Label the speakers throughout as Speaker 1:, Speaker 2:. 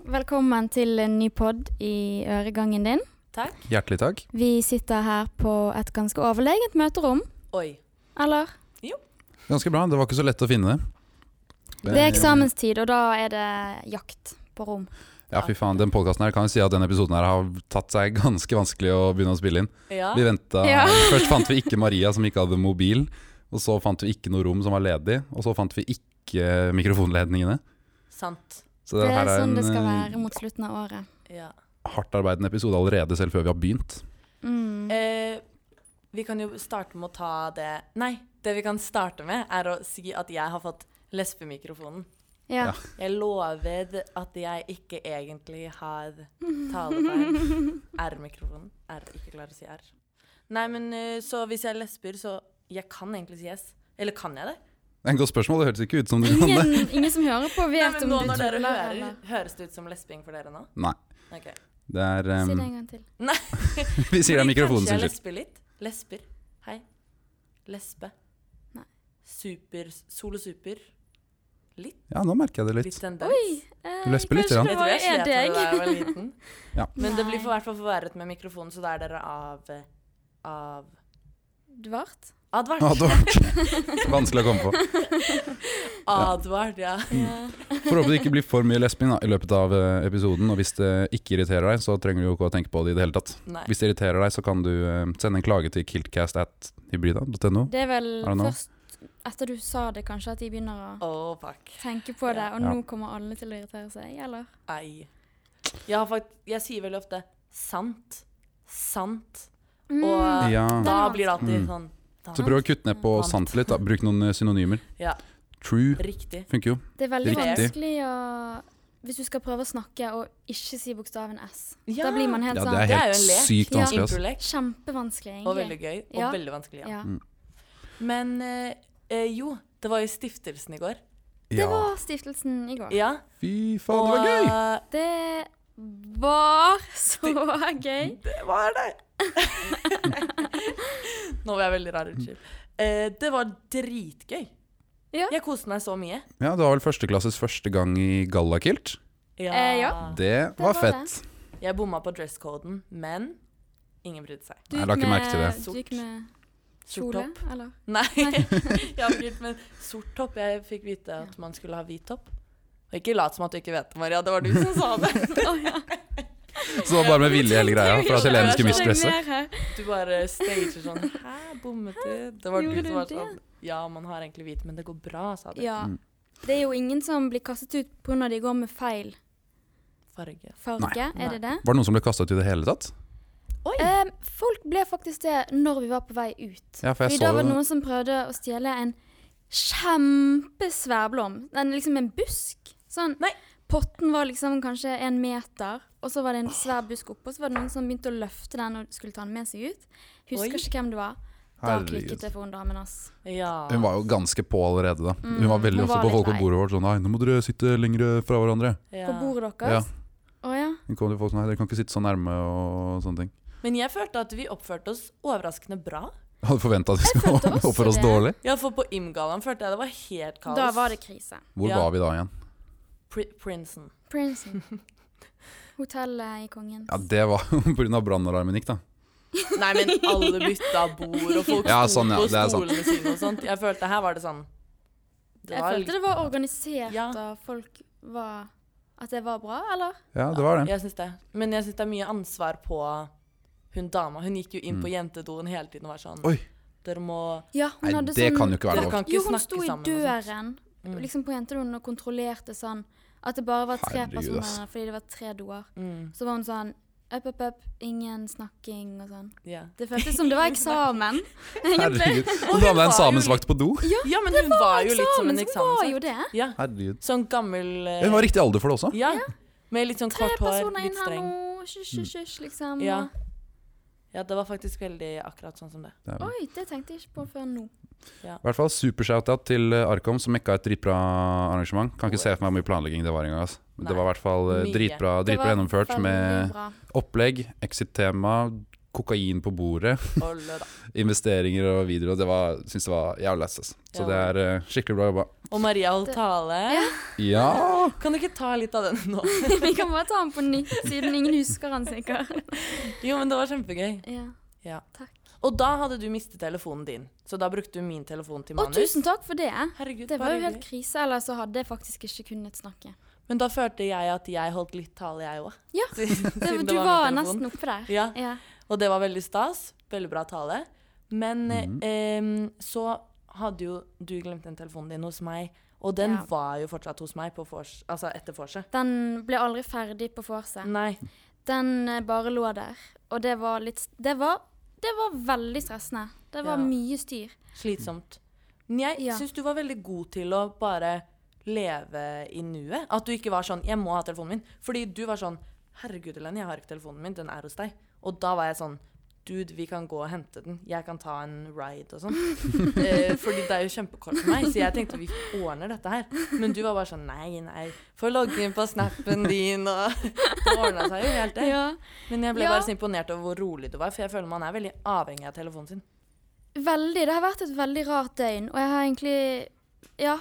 Speaker 1: Velkommen til en ny pod i øregangen din.
Speaker 2: Takk.
Speaker 3: Hjertelig takk.
Speaker 1: Vi sitter her på et ganske overlegent møterom.
Speaker 2: Oi.
Speaker 1: Eller?
Speaker 3: Ganske bra. Det var ikke så lett å finne.
Speaker 1: Det er eksamenstid, og da er det jakt på rom.
Speaker 3: Ja, fy faen. Den podkasten her kan vi si at den episoden her har tatt seg ganske vanskelig å begynne å spille inn.
Speaker 2: Ja.
Speaker 3: Vi ventet,
Speaker 1: Ja.
Speaker 3: Først fant vi ikke Maria som ikke hadde mobil, og så fant vi ikke noe rom som var ledig, og så fant vi ikke mikrofonledningene.
Speaker 2: Sant.
Speaker 3: Så
Speaker 1: Det er
Speaker 3: her
Speaker 1: sånn det skal
Speaker 3: eh,
Speaker 1: være mot slutten av året.
Speaker 2: Ja.
Speaker 3: hardtarbeidende episode allerede, selv før vi har begynt.
Speaker 1: Mm.
Speaker 2: Eh, vi kan jo starte med å ta det Nei, det vi kan starte med, er å si at jeg har fått lesbemikrofonen.
Speaker 1: Ja.
Speaker 3: Ja.
Speaker 2: Jeg lover at jeg ikke egentlig har talefeil. R-mikrofonen. R. Ikke klarer å si R. Nei, men eh, så hvis jeg lesber, så Jeg kan egentlig si yes. Eller kan jeg det?
Speaker 3: Det er et godt spørsmål. Det hørtes ikke ut som du kan det.
Speaker 1: Ingen, ingen som hører på,
Speaker 2: Nei,
Speaker 1: vet
Speaker 2: men
Speaker 1: om
Speaker 2: nå
Speaker 1: du
Speaker 2: når dere
Speaker 1: tuller
Speaker 2: hører,
Speaker 1: eller
Speaker 2: høres det ut som lesbing for dere nå?
Speaker 3: Nei.
Speaker 2: Ok.
Speaker 3: Det er
Speaker 1: Si det
Speaker 3: eh,
Speaker 1: en gang til.
Speaker 3: Vi sier det er
Speaker 2: Fordi Kanskje
Speaker 3: mikrofonen
Speaker 2: jeg
Speaker 3: sin skyld.
Speaker 2: lesber litt. Lesber. Hei. Lesbe.
Speaker 1: Nei.
Speaker 2: Super. Sol og super. Litt.
Speaker 3: Ja, nå merker jeg det litt.
Speaker 2: Litt tendens.
Speaker 1: Oi! eh,
Speaker 3: Du lesper litt,
Speaker 1: kanskje
Speaker 3: ja.
Speaker 1: det
Speaker 2: Jeg tror
Speaker 1: bare
Speaker 2: jeg slet
Speaker 1: er
Speaker 2: da jeg
Speaker 1: deg.
Speaker 2: var liten.
Speaker 3: Ja.
Speaker 2: Men det blir
Speaker 1: Nei.
Speaker 2: for hvert fall forverret med mikrofonen, så da er dere av av
Speaker 1: Dvart?
Speaker 2: advart.
Speaker 3: Ja, det var vanskelig å komme på.
Speaker 2: Advart, ja.
Speaker 3: Forhåpentlig ikke blir for mye lesbing da, i løpet av eh, episoden. Og hvis det ikke irriterer deg, så trenger du jo ikke å tenke på det i det hele tatt.
Speaker 2: Nei.
Speaker 3: Hvis det irriterer deg, så kan du eh, sende en klage til kiltcast at hybrida.no.
Speaker 1: Det er vel
Speaker 3: I don't know.
Speaker 1: først etter du sa det, kanskje, at de begynner å
Speaker 2: Åh, fuck.
Speaker 1: tenke på det, og
Speaker 3: Ja.
Speaker 1: nå kommer alle til å irritere seg, eller?
Speaker 2: Ei. Jeg har fakt... Jeg sier veldig ofte sant. Sant. Og
Speaker 1: Mm.
Speaker 3: Ja.
Speaker 2: da blir det alltid
Speaker 3: Mm.
Speaker 2: sånn da.
Speaker 3: Så prøv å kutte ned på
Speaker 2: Sant.
Speaker 3: sant litt. Da. Bruk noen eh, synonymer.
Speaker 2: Ja.
Speaker 3: True
Speaker 2: Riktig.
Speaker 3: funker jo.
Speaker 1: Det er veldig
Speaker 2: Riktig.
Speaker 1: vanskelig å Hvis du skal prøve å snakke og ikke si bokstaven S,
Speaker 2: Ja.
Speaker 1: da blir man helt
Speaker 3: Ja, det
Speaker 1: sånn
Speaker 3: er
Speaker 2: Det er
Speaker 3: helt
Speaker 2: jo en lek.
Speaker 3: sykt
Speaker 1: Ja.
Speaker 3: vanskelig.
Speaker 2: Improlek.
Speaker 3: ass.
Speaker 1: Kjempevanskelig,
Speaker 2: Og
Speaker 1: egentlig.
Speaker 2: veldig gøy. Og
Speaker 1: Ja.
Speaker 2: veldig vanskelig, ja.
Speaker 1: Ja.
Speaker 3: Mm.
Speaker 2: Men eh, eh, jo, det var jo stiftelsen i går.
Speaker 1: Det
Speaker 3: Ja.
Speaker 1: var stiftelsen i går.
Speaker 2: Ja.
Speaker 3: Fy faen, Ah. det var gøy!
Speaker 1: Det var så gøy.
Speaker 2: Det var det! Nå var jeg veldig rar. Unnskyld. Eh, det var dritgøy.
Speaker 1: Ja.
Speaker 2: Jeg koste meg så mye.
Speaker 3: Ja, det var vel førsteklasses første gang i gallakilt.
Speaker 1: Eh,
Speaker 3: Det var
Speaker 1: var
Speaker 3: fett.
Speaker 2: Jeg bomma på dresscoden, men ingen brydde seg.
Speaker 1: Du
Speaker 3: Jeg
Speaker 1: gikk
Speaker 3: la ikke merke til
Speaker 1: med,
Speaker 3: det.
Speaker 1: du gikk med
Speaker 2: Sort
Speaker 1: kjole,
Speaker 2: topp.
Speaker 1: eller?
Speaker 2: Nei, jeg har ikke men sort topp. Jeg fikk vite at man skulle ha hvit topp. Og ikke lat som at du ikke vet det, Maria. Det var du som sa det.
Speaker 3: Så det var bare med vilje hele greia, for at Helene skulle
Speaker 1: Jeg
Speaker 3: misdresse.
Speaker 1: skjønner mer her.
Speaker 2: Du bare stager sånn Hæ, bommet du? Det var
Speaker 1: Gjorde
Speaker 2: du
Speaker 1: du
Speaker 2: som var
Speaker 1: det?
Speaker 2: sånn Ja, man har egentlig hvit, men det går bra, sa du.
Speaker 1: Ja.
Speaker 3: Mm.
Speaker 1: Det er jo ingen som blir kastet ut pga. de går med feil
Speaker 2: Farge.
Speaker 1: farge,
Speaker 2: Nei.
Speaker 1: er det det?
Speaker 3: Var det noen som ble kasta ut i det hele tatt?
Speaker 2: Oi!
Speaker 1: Ehm, folk ble faktisk det når vi var på vei ut.
Speaker 3: Ja, for jeg
Speaker 1: Fordi
Speaker 3: så
Speaker 1: da var det
Speaker 3: det.
Speaker 1: noen som prøvde å stjele en kjempesvær blom. Den er liksom en busk. Sånn.
Speaker 2: Nei.
Speaker 1: Potten var liksom kanskje en meter, og så var det en svær busk oppå. Så var det noen som begynte å løfte den og skulle ta den med seg ut. Husker
Speaker 2: Oi.
Speaker 1: ikke hvem det var. Da klikket det for hun damen, ass.
Speaker 2: Ja.
Speaker 3: Hun var jo ganske på allerede, da. Hun var veldig
Speaker 1: hun
Speaker 3: ofte
Speaker 1: var
Speaker 3: på
Speaker 1: litt
Speaker 3: folk på
Speaker 1: lei.
Speaker 3: bordet vårt sånn Nei, nå må dere sitte lenger eh, fra hverandre.
Speaker 2: ja.
Speaker 1: På bordet
Speaker 3: Ja.
Speaker 1: deres. Å ja.
Speaker 3: Hun kom til folk sånn Nei, dere kan ikke sitte så nærme og sånne ting.
Speaker 2: Men jeg følte at vi oppførte oss overraskende bra.
Speaker 3: Jeg Hadde forventa at vi
Speaker 1: følte
Speaker 3: skulle
Speaker 1: også
Speaker 3: oppføre oss
Speaker 1: det.
Speaker 3: dårlig.
Speaker 2: Ja, for på Imgallaen følte jeg det var helt kaos.
Speaker 1: Da var det krise.
Speaker 3: Hvor
Speaker 2: Ja.
Speaker 3: var vi da igjen?
Speaker 2: Pri Prinsen.
Speaker 1: Prinsen. Hotellet i Kongen.
Speaker 3: Ja, det var pga. brannalarmen gikk, da.
Speaker 2: Nei, men alle bytta bord, og folk
Speaker 3: Ja,
Speaker 2: sto
Speaker 3: sånn, ja,
Speaker 2: på
Speaker 3: det er sant.
Speaker 2: stolene sine og sånt. Jeg følte her var det sånn Det
Speaker 1: Jeg
Speaker 2: var
Speaker 1: følte det var organisert,
Speaker 2: Ja.
Speaker 1: og folk var At det var bra, eller?
Speaker 3: Ja, det var det.
Speaker 2: Jeg syns det. Men jeg syns det er mye ansvar på hun dama. Hun gikk jo inn på jentedoen hele tiden og var sånn
Speaker 3: Mm. Oi.
Speaker 2: Dere må
Speaker 1: Ja, hun
Speaker 3: Nei,
Speaker 1: hadde
Speaker 3: det
Speaker 1: sånn
Speaker 3: kan jo ikke være
Speaker 2: Dere
Speaker 3: lov.
Speaker 2: kan ikke
Speaker 1: Jo, hun
Speaker 2: snakke
Speaker 1: sto i
Speaker 2: sammen. Mm. og sånt.
Speaker 1: døren liksom på jentedoen og kontrollerte sånn at det bare var tre
Speaker 3: Herregud,
Speaker 1: personer
Speaker 3: ass.
Speaker 1: der, fordi det var tre doer.
Speaker 2: Mm,
Speaker 1: Så var hun sånn up, up, up, ingen snakking og sånn.
Speaker 2: ja.
Speaker 1: Det føltes som det var eksamen.
Speaker 2: Og
Speaker 3: Herregud. Du
Speaker 2: hun
Speaker 3: hadde med
Speaker 2: var
Speaker 3: en
Speaker 2: jo
Speaker 3: samensvakt på do.
Speaker 2: ja, men hun var, jo litt som en
Speaker 1: så hun var jo
Speaker 2: eksamen.
Speaker 1: det.
Speaker 2: Ja.
Speaker 3: Herregud.
Speaker 2: Sånn gammel eh,
Speaker 3: Hun var riktig alder for det også.
Speaker 2: Ja. Med litt sånn
Speaker 1: Tre
Speaker 2: kort hår,
Speaker 1: personer
Speaker 2: litt
Speaker 1: inn her
Speaker 2: streng.
Speaker 1: nå, hysj,
Speaker 3: Mm.
Speaker 1: hysj, hysj, liksom.
Speaker 2: Ja.
Speaker 1: og-
Speaker 2: ja, det var faktisk veldig akkurat sånn som det.
Speaker 3: Det er-
Speaker 1: Oi, det tenkte jeg ikke på før nå.
Speaker 3: I hvert fall supershoutout til eh, Arkom, som mekka et dritbra arrangement. Kan ikke se for meg hvor mye planlegging det var engang. ass. Men
Speaker 2: Nei.
Speaker 3: det var i hvert fall eh,
Speaker 2: Mye.
Speaker 3: dritbra,
Speaker 1: Det
Speaker 3: dritbra
Speaker 1: var
Speaker 3: gjennomført
Speaker 1: veldig
Speaker 3: med
Speaker 1: bra.
Speaker 3: opplegg, exit-tema, kokain på bordet,
Speaker 2: Olle, da.
Speaker 3: investeringer og videoer. og Det var, synes det var jævlig lættis. Så
Speaker 2: Ja.
Speaker 3: det er eh, skikkelig bra jobba.
Speaker 2: Og Maria holdt tale.
Speaker 3: Ja!
Speaker 2: Kan du ikke ta litt av den nå?
Speaker 1: Vi kan bare ta den på nytt, siden ingen husker han sikkert.
Speaker 2: Jo, men det var kjempegøy.
Speaker 1: Ja.
Speaker 2: Ja.
Speaker 1: Takk.
Speaker 2: Og da hadde du mistet telefonen din, så da brukte du min telefon til
Speaker 1: Og
Speaker 2: manus.
Speaker 1: tusen takk for det.
Speaker 2: Herregud,
Speaker 1: Det var
Speaker 2: bare
Speaker 1: jo helt
Speaker 2: hyggelig.
Speaker 1: krise, ellers så hadde jeg faktisk ikke kunnet snakke.
Speaker 2: Men da følte jeg at jeg holdt litt tale, jeg òg.
Speaker 1: Ja, Det, du var nesten oppe der.
Speaker 2: Ja,
Speaker 1: Ja.
Speaker 2: og det var veldig stas. Veldig bra tale. Men eh, em, så hadde jo du glemt den telefonen din hos meg, og den
Speaker 1: Ja.
Speaker 2: var jo fortsatt hos meg på vors- altså etter vorset.
Speaker 1: Den ble aldri ferdig på vorset.
Speaker 2: Nei.
Speaker 1: Den eh, bare lå der. Og det var litt Det var, det var veldig stressende. Det var
Speaker 2: Ja.
Speaker 1: mye styr.
Speaker 2: Slitsomt. Men jeg
Speaker 1: Ja.
Speaker 2: syns du var veldig god til å bare leve i nuet. At du ikke var sånn 'jeg må ha telefonen min'. Fordi du var sånn 'herregud, Helene, jeg har ikke telefonen min, den er hos deg'. Og da var jeg sånn 'dude, vi kan gå og hente den, jeg kan ta en ride' og sånn. eh, fordi det er jo kjempekort for meg, så jeg tenkte vi ordner dette her. Men du var bare sånn 'nei, nei, få logge inn på snappen din', og Det ordna seg jo helt, det. Men jeg ble
Speaker 1: Ja.
Speaker 2: bare så imponert over hvor rolig du var, for jeg føler man er veldig avhengig av telefonen sin.
Speaker 1: Veldig. Det har vært et veldig rart døgn, og jeg har egentlig Ja.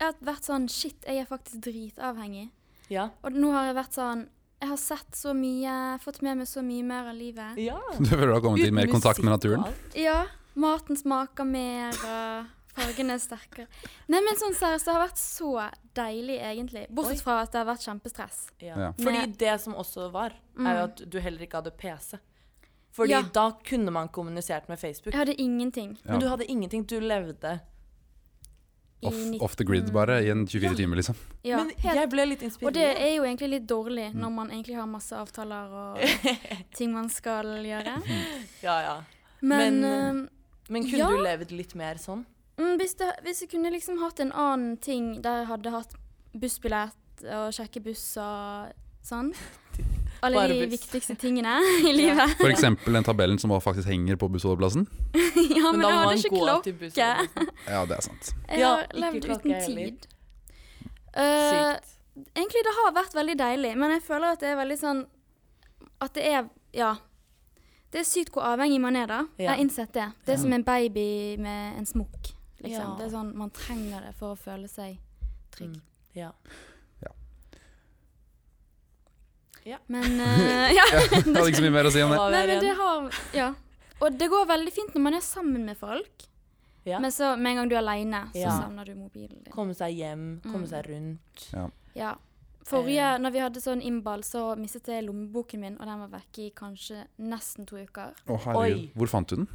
Speaker 1: Jeg har vært sånn Shit, jeg er faktisk dritavhengig.
Speaker 2: Ja.
Speaker 1: Og nå har jeg vært sånn Jeg har sett så mye, fått med meg så mye mer av livet.
Speaker 2: ja.
Speaker 3: Du føler du har kommet i
Speaker 2: Uten
Speaker 3: mer kontakt med
Speaker 2: musikk og
Speaker 3: naturen?
Speaker 2: alt.
Speaker 1: Ja. Maten smaker mer, og fargene er sterkere. Nei, men sånn seriøst, det har vært så deilig, egentlig.
Speaker 2: Oi.
Speaker 1: Bortsett fra at det har vært kjempestress.
Speaker 2: Ja.
Speaker 3: Ja.
Speaker 2: Fordi
Speaker 1: Med-
Speaker 2: det som også var, er jo at du heller ikke hadde PC.
Speaker 1: Mm.
Speaker 2: Fordi
Speaker 1: Ja.
Speaker 2: da kunne man kommunisert med Facebook.
Speaker 1: Jeg hadde ingenting
Speaker 3: Ja.
Speaker 2: Men du hadde ingenting. Du levde.
Speaker 1: i
Speaker 3: Off,
Speaker 1: 19...
Speaker 3: off the grid, bare, i en 24 timer, liksom.
Speaker 1: Ja,
Speaker 2: Men
Speaker 1: helt.
Speaker 2: jeg ble litt
Speaker 1: Og
Speaker 2: inspirert.
Speaker 1: det er jo egentlig litt dårlig
Speaker 2: Mm.
Speaker 1: når man egentlig har masse avtaler og ting man skal gjøre.
Speaker 2: Mm. Ja, ja.
Speaker 1: Men,
Speaker 2: Men,
Speaker 1: eh,
Speaker 2: Men kunne
Speaker 1: Ja.
Speaker 2: du levd litt mer sånn?
Speaker 1: mm, hvis, det, hvis jeg kunne liksom hatt en annen ting der jeg hadde hatt bussbillett og sjekke buss og sånn Alle
Speaker 2: Bare
Speaker 1: de
Speaker 2: buss.
Speaker 1: viktigste tingene i livet.
Speaker 3: For eksempel den tabellen som faktisk henger på bussholdeplassen.
Speaker 1: Ja, men, jeg
Speaker 2: da må
Speaker 1: hadde
Speaker 2: man
Speaker 1: ikke
Speaker 2: gå
Speaker 1: klokke.
Speaker 2: til bussen.
Speaker 3: Ja, det er sant.
Speaker 1: Jeg
Speaker 2: Ja,
Speaker 1: har
Speaker 2: ikke
Speaker 1: levd
Speaker 2: klokke
Speaker 1: uten
Speaker 2: heller.
Speaker 1: tid. Eh,
Speaker 2: Sykt.
Speaker 1: Egentlig det har vært veldig deilig, men jeg føler at det er veldig sånn At det er Ja. Det er sykt hvor avhengig man er, da. Jeg
Speaker 2: Ja.
Speaker 1: har innsett det. Det er som en baby med en smokk. Liksom.
Speaker 2: Ja. Mm.
Speaker 1: Det er sånn, Man trenger det for å føle seg trygg.
Speaker 2: Ja.
Speaker 1: Men eh, ja.
Speaker 3: Jeg hadde ikke så mye mer å si om det.
Speaker 2: Hva
Speaker 1: Nei,
Speaker 2: var
Speaker 1: men det
Speaker 2: igjen?
Speaker 1: har Ja. Og det går veldig fint når man er sammen med folk,
Speaker 2: Ja.
Speaker 1: men så med en gang du er aleine, så
Speaker 2: Ja.
Speaker 1: savner du mobilen din.
Speaker 2: Komme seg hjem,
Speaker 1: Mm.
Speaker 2: komme seg rundt.
Speaker 3: Ja.
Speaker 1: Ja.
Speaker 2: Eh.
Speaker 1: Forrige, når vi hadde sånn innball, så mistet jeg lommeboken min, og den var vekke i kanskje nesten to uker.
Speaker 3: Å, herregud.
Speaker 2: Oi.
Speaker 3: Hvor fant du den?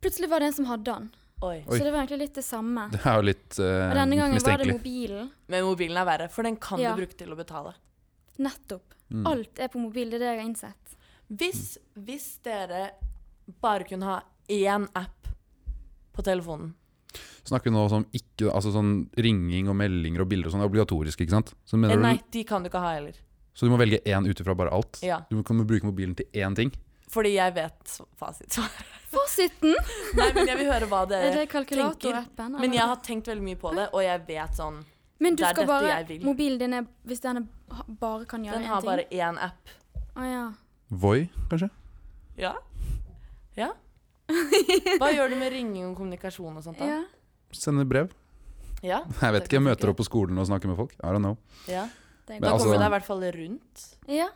Speaker 1: Plutselig var det en som hadde den.
Speaker 2: Oi.
Speaker 3: Oi.
Speaker 1: Så det var egentlig litt det samme.
Speaker 3: Det er jo litt eh,
Speaker 1: Og denne gangen var det
Speaker 3: mistenkelig.
Speaker 1: mobilen.
Speaker 2: Men mobilen er verre, for den kan
Speaker 1: Ja.
Speaker 2: du bruke til å betale.
Speaker 1: Nettopp.
Speaker 3: Mm.
Speaker 2: Mm.
Speaker 1: Alt er på mobil, det er det jeg har innsett.
Speaker 2: Hvis, hvis dere bare kunne ha én app på telefonen
Speaker 3: Snakker du nå som ikke Altså sånn ringing og meldinger og bilder og sånn er obligatorisk, ikke sant? Så,
Speaker 2: Eh,
Speaker 3: mener
Speaker 2: Nei,
Speaker 3: du,
Speaker 2: de kan du ikke ha heller.
Speaker 3: så du må velge én ut ifra bare alt?
Speaker 2: Ja.
Speaker 3: Du kan bruke mobilen til én ting?
Speaker 2: Fordi jeg vet fasitsvaret.
Speaker 1: Fasiten!
Speaker 2: Nei, men jeg vil høre hva
Speaker 1: Er
Speaker 2: dere
Speaker 1: det kalkulatorappen?
Speaker 2: Eh, Men
Speaker 1: eller?
Speaker 2: jeg har tenkt veldig mye på det, og jeg vet sånn
Speaker 1: Men du
Speaker 2: det er
Speaker 1: skal
Speaker 2: dette
Speaker 1: bare
Speaker 2: jeg vil.
Speaker 1: Mobilen din er Hvis den er, ha- bare kan gjøre
Speaker 2: Den
Speaker 1: én
Speaker 2: har
Speaker 1: ting.
Speaker 2: bare én app.
Speaker 1: Å ja.
Speaker 3: Voi, kanskje?
Speaker 2: Ja? Ja? Hva gjør du med ringing og kommunikasjon og sånt, da?
Speaker 1: ja.
Speaker 3: Sender brev?
Speaker 2: Ja?
Speaker 3: Jeg vet ikke, jeg møter opp på skolen og snakker med folk. I don't know.
Speaker 2: Ja.
Speaker 1: Det er
Speaker 3: Men
Speaker 2: Da
Speaker 1: godt.
Speaker 3: altså-
Speaker 2: kommer du deg i hvert fall rundt.
Speaker 1: ja.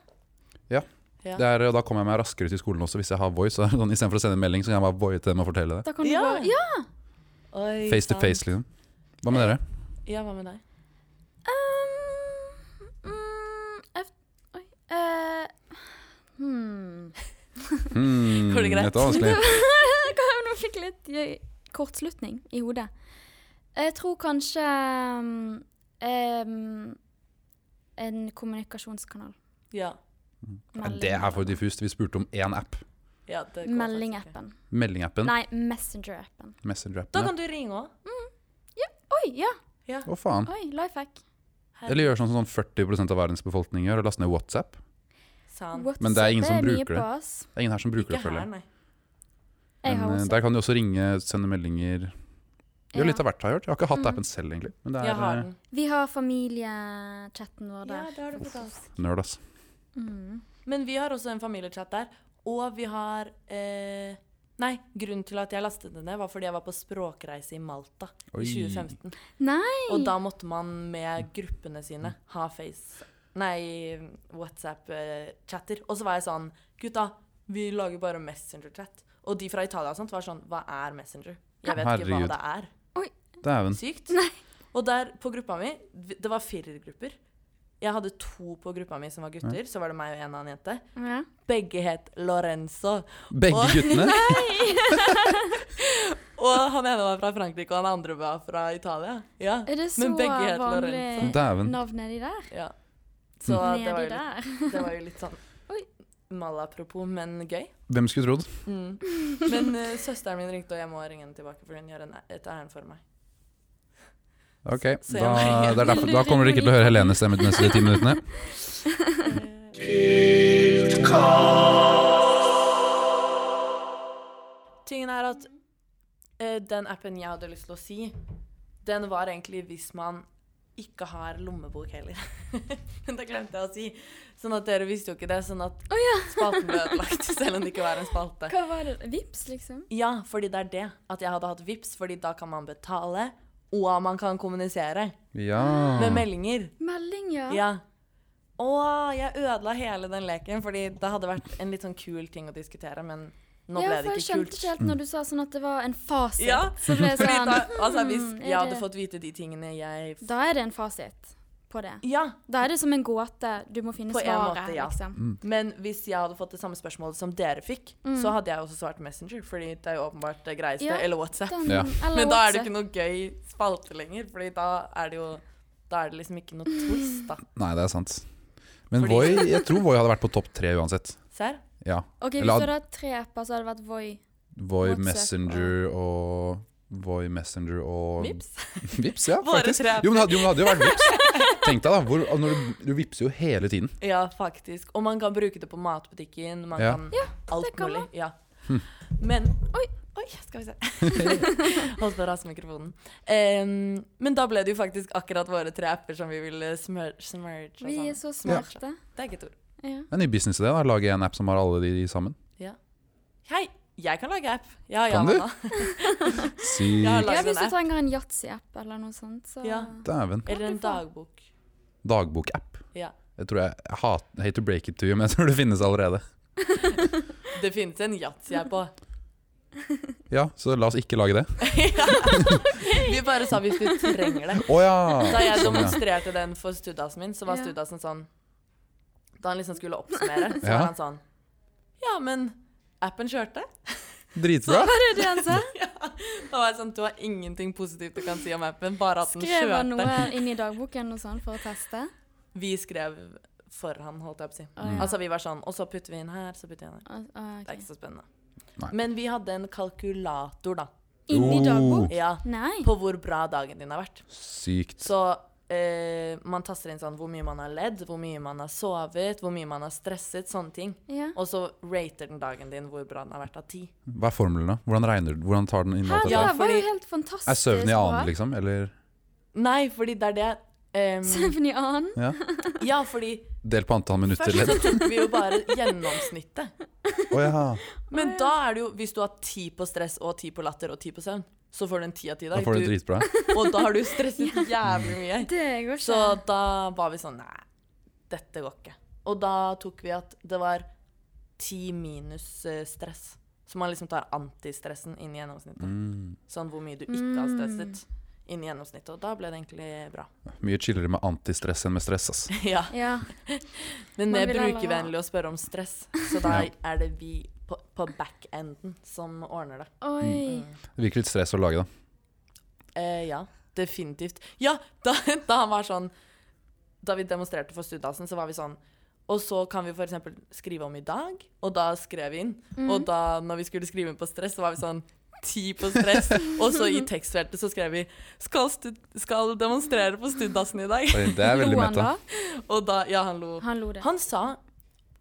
Speaker 2: Ja.
Speaker 3: Det er, og da kommer jeg meg raskere til skolen også, hvis jeg har Voi. Så er det sånn, istedenfor å sende en melding, så kan jeg bare voie til dem og fortelle det.
Speaker 1: Da kan du
Speaker 2: Ja.
Speaker 1: bare Ja!
Speaker 2: Oi,
Speaker 3: Face to
Speaker 2: sant.
Speaker 3: face, liksom. Hva med dere?
Speaker 2: Ja, hva med deg?
Speaker 1: Um, mm, jeg, oi. eh, hmm.
Speaker 3: Hmm,
Speaker 2: Går det greit?
Speaker 3: Dette var vanskelig.
Speaker 1: Nå fikk jeg litt eh, kortslutning i hodet. Jeg tror kanskje mm, em, en kommunikasjonskanal.
Speaker 2: Ja.
Speaker 3: Ja, det er for diffust. Vi spurte om én app.
Speaker 2: ja det går faktisk ikke.
Speaker 1: Meldingappen.
Speaker 3: Meldingappen.
Speaker 1: Nei, Messenger-appen.
Speaker 3: Messenger-appen.
Speaker 2: Da
Speaker 3: ja.
Speaker 2: kan du ringe òg.
Speaker 1: Oi, ja.
Speaker 3: Å, faen.
Speaker 1: Oi, life hack.
Speaker 3: Eller gjør sånn som sånn 40 av verdens befolkning gjør, og laste ned WhatsApp.
Speaker 2: Sant.
Speaker 1: WhatsApp
Speaker 3: Men det er ingen som
Speaker 1: mye
Speaker 3: bruker det.
Speaker 1: på oss.
Speaker 3: Det er ingen her som bruker
Speaker 2: Ikke
Speaker 3: det, føler
Speaker 2: her,
Speaker 3: jeg.
Speaker 2: nei.
Speaker 1: Jeg
Speaker 3: Men
Speaker 1: har
Speaker 3: eh,
Speaker 1: WhatsApp.
Speaker 3: der kan du også ringe, sende meldinger. Gjør litt av hvert, har jeg hørt. Jeg har ikke hatt appen selv, egentlig. Men det
Speaker 2: Mm. Jeg
Speaker 3: er
Speaker 2: har
Speaker 3: eh,
Speaker 2: den.
Speaker 1: Vi har familiechatten vår
Speaker 2: Ja,
Speaker 1: der.
Speaker 2: det har du fortalt.
Speaker 3: nerd, ass.
Speaker 1: Mm.
Speaker 2: Men vi har også en familiechat der, Og vi har eh, Nei, grunnen til at jeg lastet den ned, var fordi jeg var på språkreise i Malta
Speaker 3: Oi.
Speaker 2: i 2015.
Speaker 1: Nei!
Speaker 2: Og da måtte man med gruppene sine ha face Nei, WhatsApp-chatter. Og så var jeg sånn Gutta, vi lager bare Messenger-chat. Og de fra Italia og sånt var sånn Hva er Messenger? Jeg vet
Speaker 3: Herregud.
Speaker 2: ikke hva det er.
Speaker 3: Dæven.
Speaker 2: Sykt. Og der på gruppa mi, det var firergrupper. Jeg hadde to på gruppa mi som var gutter. Så var det meg og en annen jente.
Speaker 1: Ja.
Speaker 2: Begge het Lorenzo.
Speaker 3: Begge
Speaker 2: Og-
Speaker 3: guttene?
Speaker 2: Og han ene var fra Frankrike, og han andre var fra Italia. Ja.
Speaker 1: Er det så
Speaker 2: Men begge heter
Speaker 1: vanlig
Speaker 2: Lorenzo.
Speaker 3: Dæven.
Speaker 1: navn nedi der?
Speaker 2: ja. Så det var,
Speaker 1: Nedi
Speaker 2: jo litt,
Speaker 1: der.
Speaker 2: det var jo litt sånn
Speaker 1: Oi.
Speaker 2: malapropos, men gøy.
Speaker 3: Hvem skulle trodd?
Speaker 2: Mm. Men eh, søsteren min ringte, og jeg må ringe henne tilbake, for hun gjør en, et ærend for meg.
Speaker 3: Ok,
Speaker 2: Så jeg
Speaker 3: da,
Speaker 2: må-
Speaker 3: det er derfor, da kommer dere ikke til å høre Helene stemme de neste ti minuttene.
Speaker 2: Eh, Tingen er at eh, den appen jeg hadde lyst til å si, den var egentlig hvis man ikke har lommebok heller. Men det glemte jeg å si. Sånn at dere visste jo ikke det. Sånn at
Speaker 1: Å ja.
Speaker 2: spalten ble ødelagt, selv om det ikke var en spalte.
Speaker 1: Hva var det? Vips, liksom?
Speaker 2: Ja, fordi det er det. At jeg hadde hatt VIPs, fordi da kan man betale, og man kan kommunisere
Speaker 3: Ja.
Speaker 2: med meldinger.
Speaker 1: Melding, ja.
Speaker 2: Ja. Å, jeg ødela hele den leken, fordi det hadde vært en litt sånn kul ting å diskutere, men nå
Speaker 1: ja,
Speaker 2: ble
Speaker 1: for
Speaker 2: det
Speaker 1: jeg
Speaker 2: ikke
Speaker 1: skjønte
Speaker 2: kult.
Speaker 1: ikke helt når du sa sånn at det var en fasit.
Speaker 2: Ja,
Speaker 1: Så ble jeg
Speaker 2: Fordi
Speaker 1: sånn
Speaker 2: da, altså, hvis
Speaker 1: hmm, er
Speaker 2: jeg hadde
Speaker 1: det-
Speaker 2: fått vite de tingene jeg
Speaker 1: Da er det en fasit på det.
Speaker 2: Ja,
Speaker 1: Da er det som en gåte. Du må finne
Speaker 2: På en
Speaker 1: svaret,
Speaker 2: måte, ja.
Speaker 1: liksom.
Speaker 3: Mm,
Speaker 2: men hvis jeg hadde fått det samme spørsmålet som dere fikk, så hadde jeg også svart Messenger, fordi det er jo åpenbart det greieste.
Speaker 1: Mm. Ja,
Speaker 2: eller WhatsApp.
Speaker 1: Den,
Speaker 3: Ja.
Speaker 1: Eller
Speaker 2: Men da er
Speaker 1: WhatsApp.
Speaker 2: det ikke noe gøy spalte lenger, fordi da er det jo Da er det liksom ikke noe twist, da.
Speaker 3: Nei, det er sant. Men
Speaker 2: Fordi-
Speaker 3: Voi, jeg tror Voi hadde vært på topp tre uansett.
Speaker 2: Serr?
Speaker 3: Ja.
Speaker 1: OK, hvis
Speaker 3: Eller
Speaker 1: du
Speaker 3: hadde-
Speaker 1: hadde hatt tre apper, så hadde det vært Voi.
Speaker 3: Voi
Speaker 1: WhatsApp,
Speaker 3: Messenger og Voi Messenger og
Speaker 2: Vips?
Speaker 3: Vips, ja,
Speaker 2: Våre
Speaker 3: faktisk.
Speaker 2: tre apper.
Speaker 3: Jo, men det hadde, jo, men det hadde jo vært Vips. Tenk deg, da. Hvor, når du, du vipser jo hele tiden.
Speaker 2: Ja, faktisk. Og man kan bruke det på matbutikken. Man
Speaker 3: Ja. Hm.
Speaker 2: kan alt
Speaker 1: kan man.
Speaker 2: mulig. Ja. Men Oi, oi, skal vi se. Holdt på å rase mikrofonen. Em, men da ble det jo faktisk akkurat våre tre apper som vi ville smør smørge og
Speaker 1: Vi er
Speaker 2: sånn.
Speaker 1: så smarte.
Speaker 2: Det er ikke et ord.
Speaker 1: Ja.
Speaker 3: Det er en ny businessidé. da. Lage en app som har alle de sammen.
Speaker 2: Ja. Hei, jeg kan lage app. Ja, ja,
Speaker 3: Kan du?
Speaker 2: mamma.
Speaker 3: Si
Speaker 2: Jeg har
Speaker 1: Ja,
Speaker 2: laget
Speaker 1: hvis
Speaker 2: en
Speaker 1: du
Speaker 2: app.
Speaker 1: trenger en yatzy-app eller noe sånt, så
Speaker 2: Ja.
Speaker 3: Dæven.
Speaker 2: Eller en dagbok.
Speaker 3: Dagbokapp.
Speaker 2: Ja.
Speaker 3: Jeg tror jeg, jeg hat, Hate to break it to you, men jeg tror det finnes allerede.
Speaker 2: Det finnes en yatzy jeg er på.
Speaker 3: Ja, så la oss ikke lage det.
Speaker 2: Vi bare sa hvis du trenger det.
Speaker 3: Å ja!
Speaker 2: Da jeg
Speaker 3: Sånn, ja.
Speaker 2: demonstrerte den for Studasen min, så var
Speaker 1: Ja.
Speaker 2: Studasen sånn Da han liksom skulle oppsummere, så
Speaker 3: Ja.
Speaker 2: var han sånn Ja, men appen kjørte.
Speaker 3: Dritbra.
Speaker 1: Hva er det du han sa?
Speaker 2: Da var jeg sånn Du har ingenting positivt du kan si om appen, bare at den
Speaker 1: Skrev
Speaker 2: kjørte.
Speaker 1: han noe inn i dagboken og sånn for å teste?
Speaker 2: Vi skrev for han, holdt jeg på å si.
Speaker 1: Å, ja.
Speaker 2: Altså vi var sånn Og så putter vi inn her, så putter vi inn her.
Speaker 1: Ah, ah,
Speaker 2: Det er
Speaker 1: ok.
Speaker 2: ikke så spennende.
Speaker 3: Nei.
Speaker 2: Men vi hadde en kalkulator, da.
Speaker 1: Inn
Speaker 3: Oh.
Speaker 1: i dagbok?
Speaker 2: Ja.
Speaker 1: Nei.
Speaker 2: På hvor bra dagen din har vært.
Speaker 3: Sykt.
Speaker 2: Så eh, man taster inn sånn hvor mye man har ledd, hvor mye man har sovet, hvor mye man har stresset, sånne ting.
Speaker 1: Ja.
Speaker 2: Og så rater den dagen din hvor bra den har vært av ti.
Speaker 3: Hva er formelen, da? Hvordan regner du? Hvordan tar den inn alt
Speaker 1: Her,
Speaker 3: dette?
Speaker 1: det
Speaker 2: Ja,
Speaker 1: her var jo
Speaker 2: fordi-
Speaker 1: helt fantastisk
Speaker 3: Er søvn i
Speaker 1: bra.
Speaker 3: annen, liksom? Eller
Speaker 2: Nei, fordi det er det ehm,
Speaker 1: Søvn i annen?
Speaker 3: ja.
Speaker 2: Ja, fordi
Speaker 3: Del på antall minutter,
Speaker 2: først
Speaker 3: eller?
Speaker 2: så tok vi jo bare gjennomsnittet.
Speaker 3: Å ja.
Speaker 2: Men da er det jo Hvis du har ti på stress og ti på latter og ti på søvn, så får du en ti av ti
Speaker 3: Da
Speaker 2: dag.
Speaker 3: får du det
Speaker 2: Du,
Speaker 3: dritbra.
Speaker 2: og da har du stresset jævlig mye.
Speaker 1: Det går ikke.
Speaker 2: Så da var vi sånn Nei, dette går ikke. Og da tok vi at det var ti minus eh, stress. Så man liksom tar antistressen inn i gjennomsnittet.
Speaker 3: Mm.
Speaker 2: Sånn hvor mye du ikke har stresset inn i gjennomsnittet. Og da ble det egentlig bra.
Speaker 3: Mye chillere med antistress enn med stress, ass.
Speaker 2: ja.
Speaker 1: Ja.
Speaker 2: Men
Speaker 1: Man
Speaker 2: det
Speaker 1: vil
Speaker 2: er
Speaker 1: heller ha-
Speaker 2: brukervennlig å spørre om stress, så da
Speaker 3: Ja.
Speaker 2: er det vi på, på backenden som ordner det. Mm.
Speaker 1: Oi.
Speaker 3: Det virker litt stress å lage, da.
Speaker 2: Eh, ja, definitivt. Ja, da, da han var sånn Da vi demonstrerte for Studdasen, så var vi sånn Og så kan vi f.eks. skrive om i dag, og da skrev vi inn. Mm.
Speaker 1: Mm.
Speaker 2: Og da når vi skulle skrive inn på stress, så var vi sånn Ti på stress. og så i tekstfeltet så skrev vi skal, stud skal demonstrere på Studdasen i dag.
Speaker 3: Oi, Det er veldig
Speaker 1: Lo han
Speaker 3: meta.
Speaker 1: da?
Speaker 2: Og da Ja, han lo.
Speaker 1: Han lo det.
Speaker 2: Han sa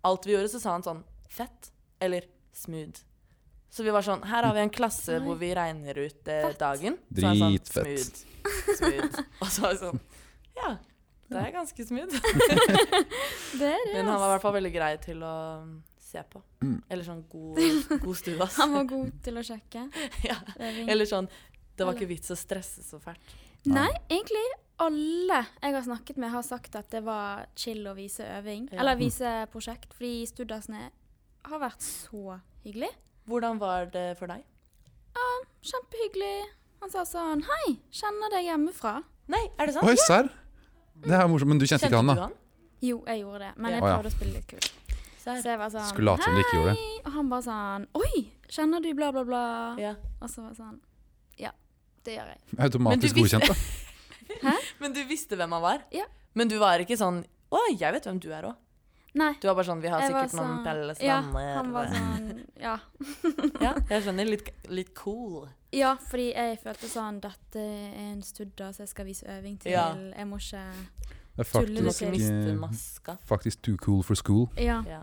Speaker 2: Alt vi gjorde, så sa han sånn Fett eller smooth. Så vi var sånn Her har vi en klasse hvor vi regner ut eh, dagen. Så han sånn,
Speaker 3: Dritfett.
Speaker 2: Smooth. smooth. Og så var vi sånn Ja, det er ganske smooth.
Speaker 1: Det er det.
Speaker 2: Men han var i hvert fall veldig grei til å um, se på.
Speaker 3: Mm.
Speaker 2: Eller sånn god, god stue, ass.
Speaker 1: altså. Han var god til å sjekke.
Speaker 2: ja.
Speaker 1: Øving.
Speaker 2: Eller sånn Det var ikke vits å stresse så fælt.
Speaker 1: Nei, egentlig alle jeg har snakket med, har sagt at det var chill å vise øving.
Speaker 2: Ja.
Speaker 1: Eller vise prosjekt, fordi Studasene har vært så hyggelig.
Speaker 2: Hvordan var det for deg?
Speaker 1: Kjempehyggelig. Han sa sånn Hei, kjenner deg hjemmefra.
Speaker 2: Nei, er det sant?
Speaker 3: Oi, serr! Det er morsomt. Men du kjente ikke han, da?
Speaker 1: Jo, jeg gjorde det, men
Speaker 2: Ja.
Speaker 1: jeg
Speaker 3: Å, ja.
Speaker 1: prøvde å spille litt kult.
Speaker 2: Serr.
Speaker 1: Så jeg var sånn
Speaker 3: Skulle late som du ikke gjorde det.
Speaker 1: «Hei!» Og han bare sånn Oi, kjenner du bla, bla, bla?
Speaker 2: Ja.
Speaker 1: Og så var jeg sånn Ja, det gjør jeg.
Speaker 3: Automatisk
Speaker 2: Men du visste-
Speaker 3: godkjent, da.
Speaker 2: Men du visste hvem han var?
Speaker 1: Ja.
Speaker 2: Men du var ikke sånn Å, jeg vet hvem du er òg.
Speaker 1: Nei.
Speaker 2: Du var bare sånn Vi har
Speaker 1: jeg var
Speaker 2: sikkert noen felles
Speaker 1: ja,
Speaker 2: venner. eh,
Speaker 1: Han var sånn Ja.
Speaker 2: ja, jeg skjønner. Litt, litt cool.
Speaker 1: Ja, fordi jeg følte sånn Dette er en studda som jeg skal vise øving til.
Speaker 2: Ja.
Speaker 1: Jeg må ikke
Speaker 3: Det er
Speaker 1: Tuller
Speaker 2: Du må
Speaker 3: faktisk,
Speaker 2: ikke
Speaker 1: til.
Speaker 2: miste
Speaker 3: eh,
Speaker 2: maska.
Speaker 3: faktisk too cool for school.
Speaker 1: Ja.
Speaker 2: Ja.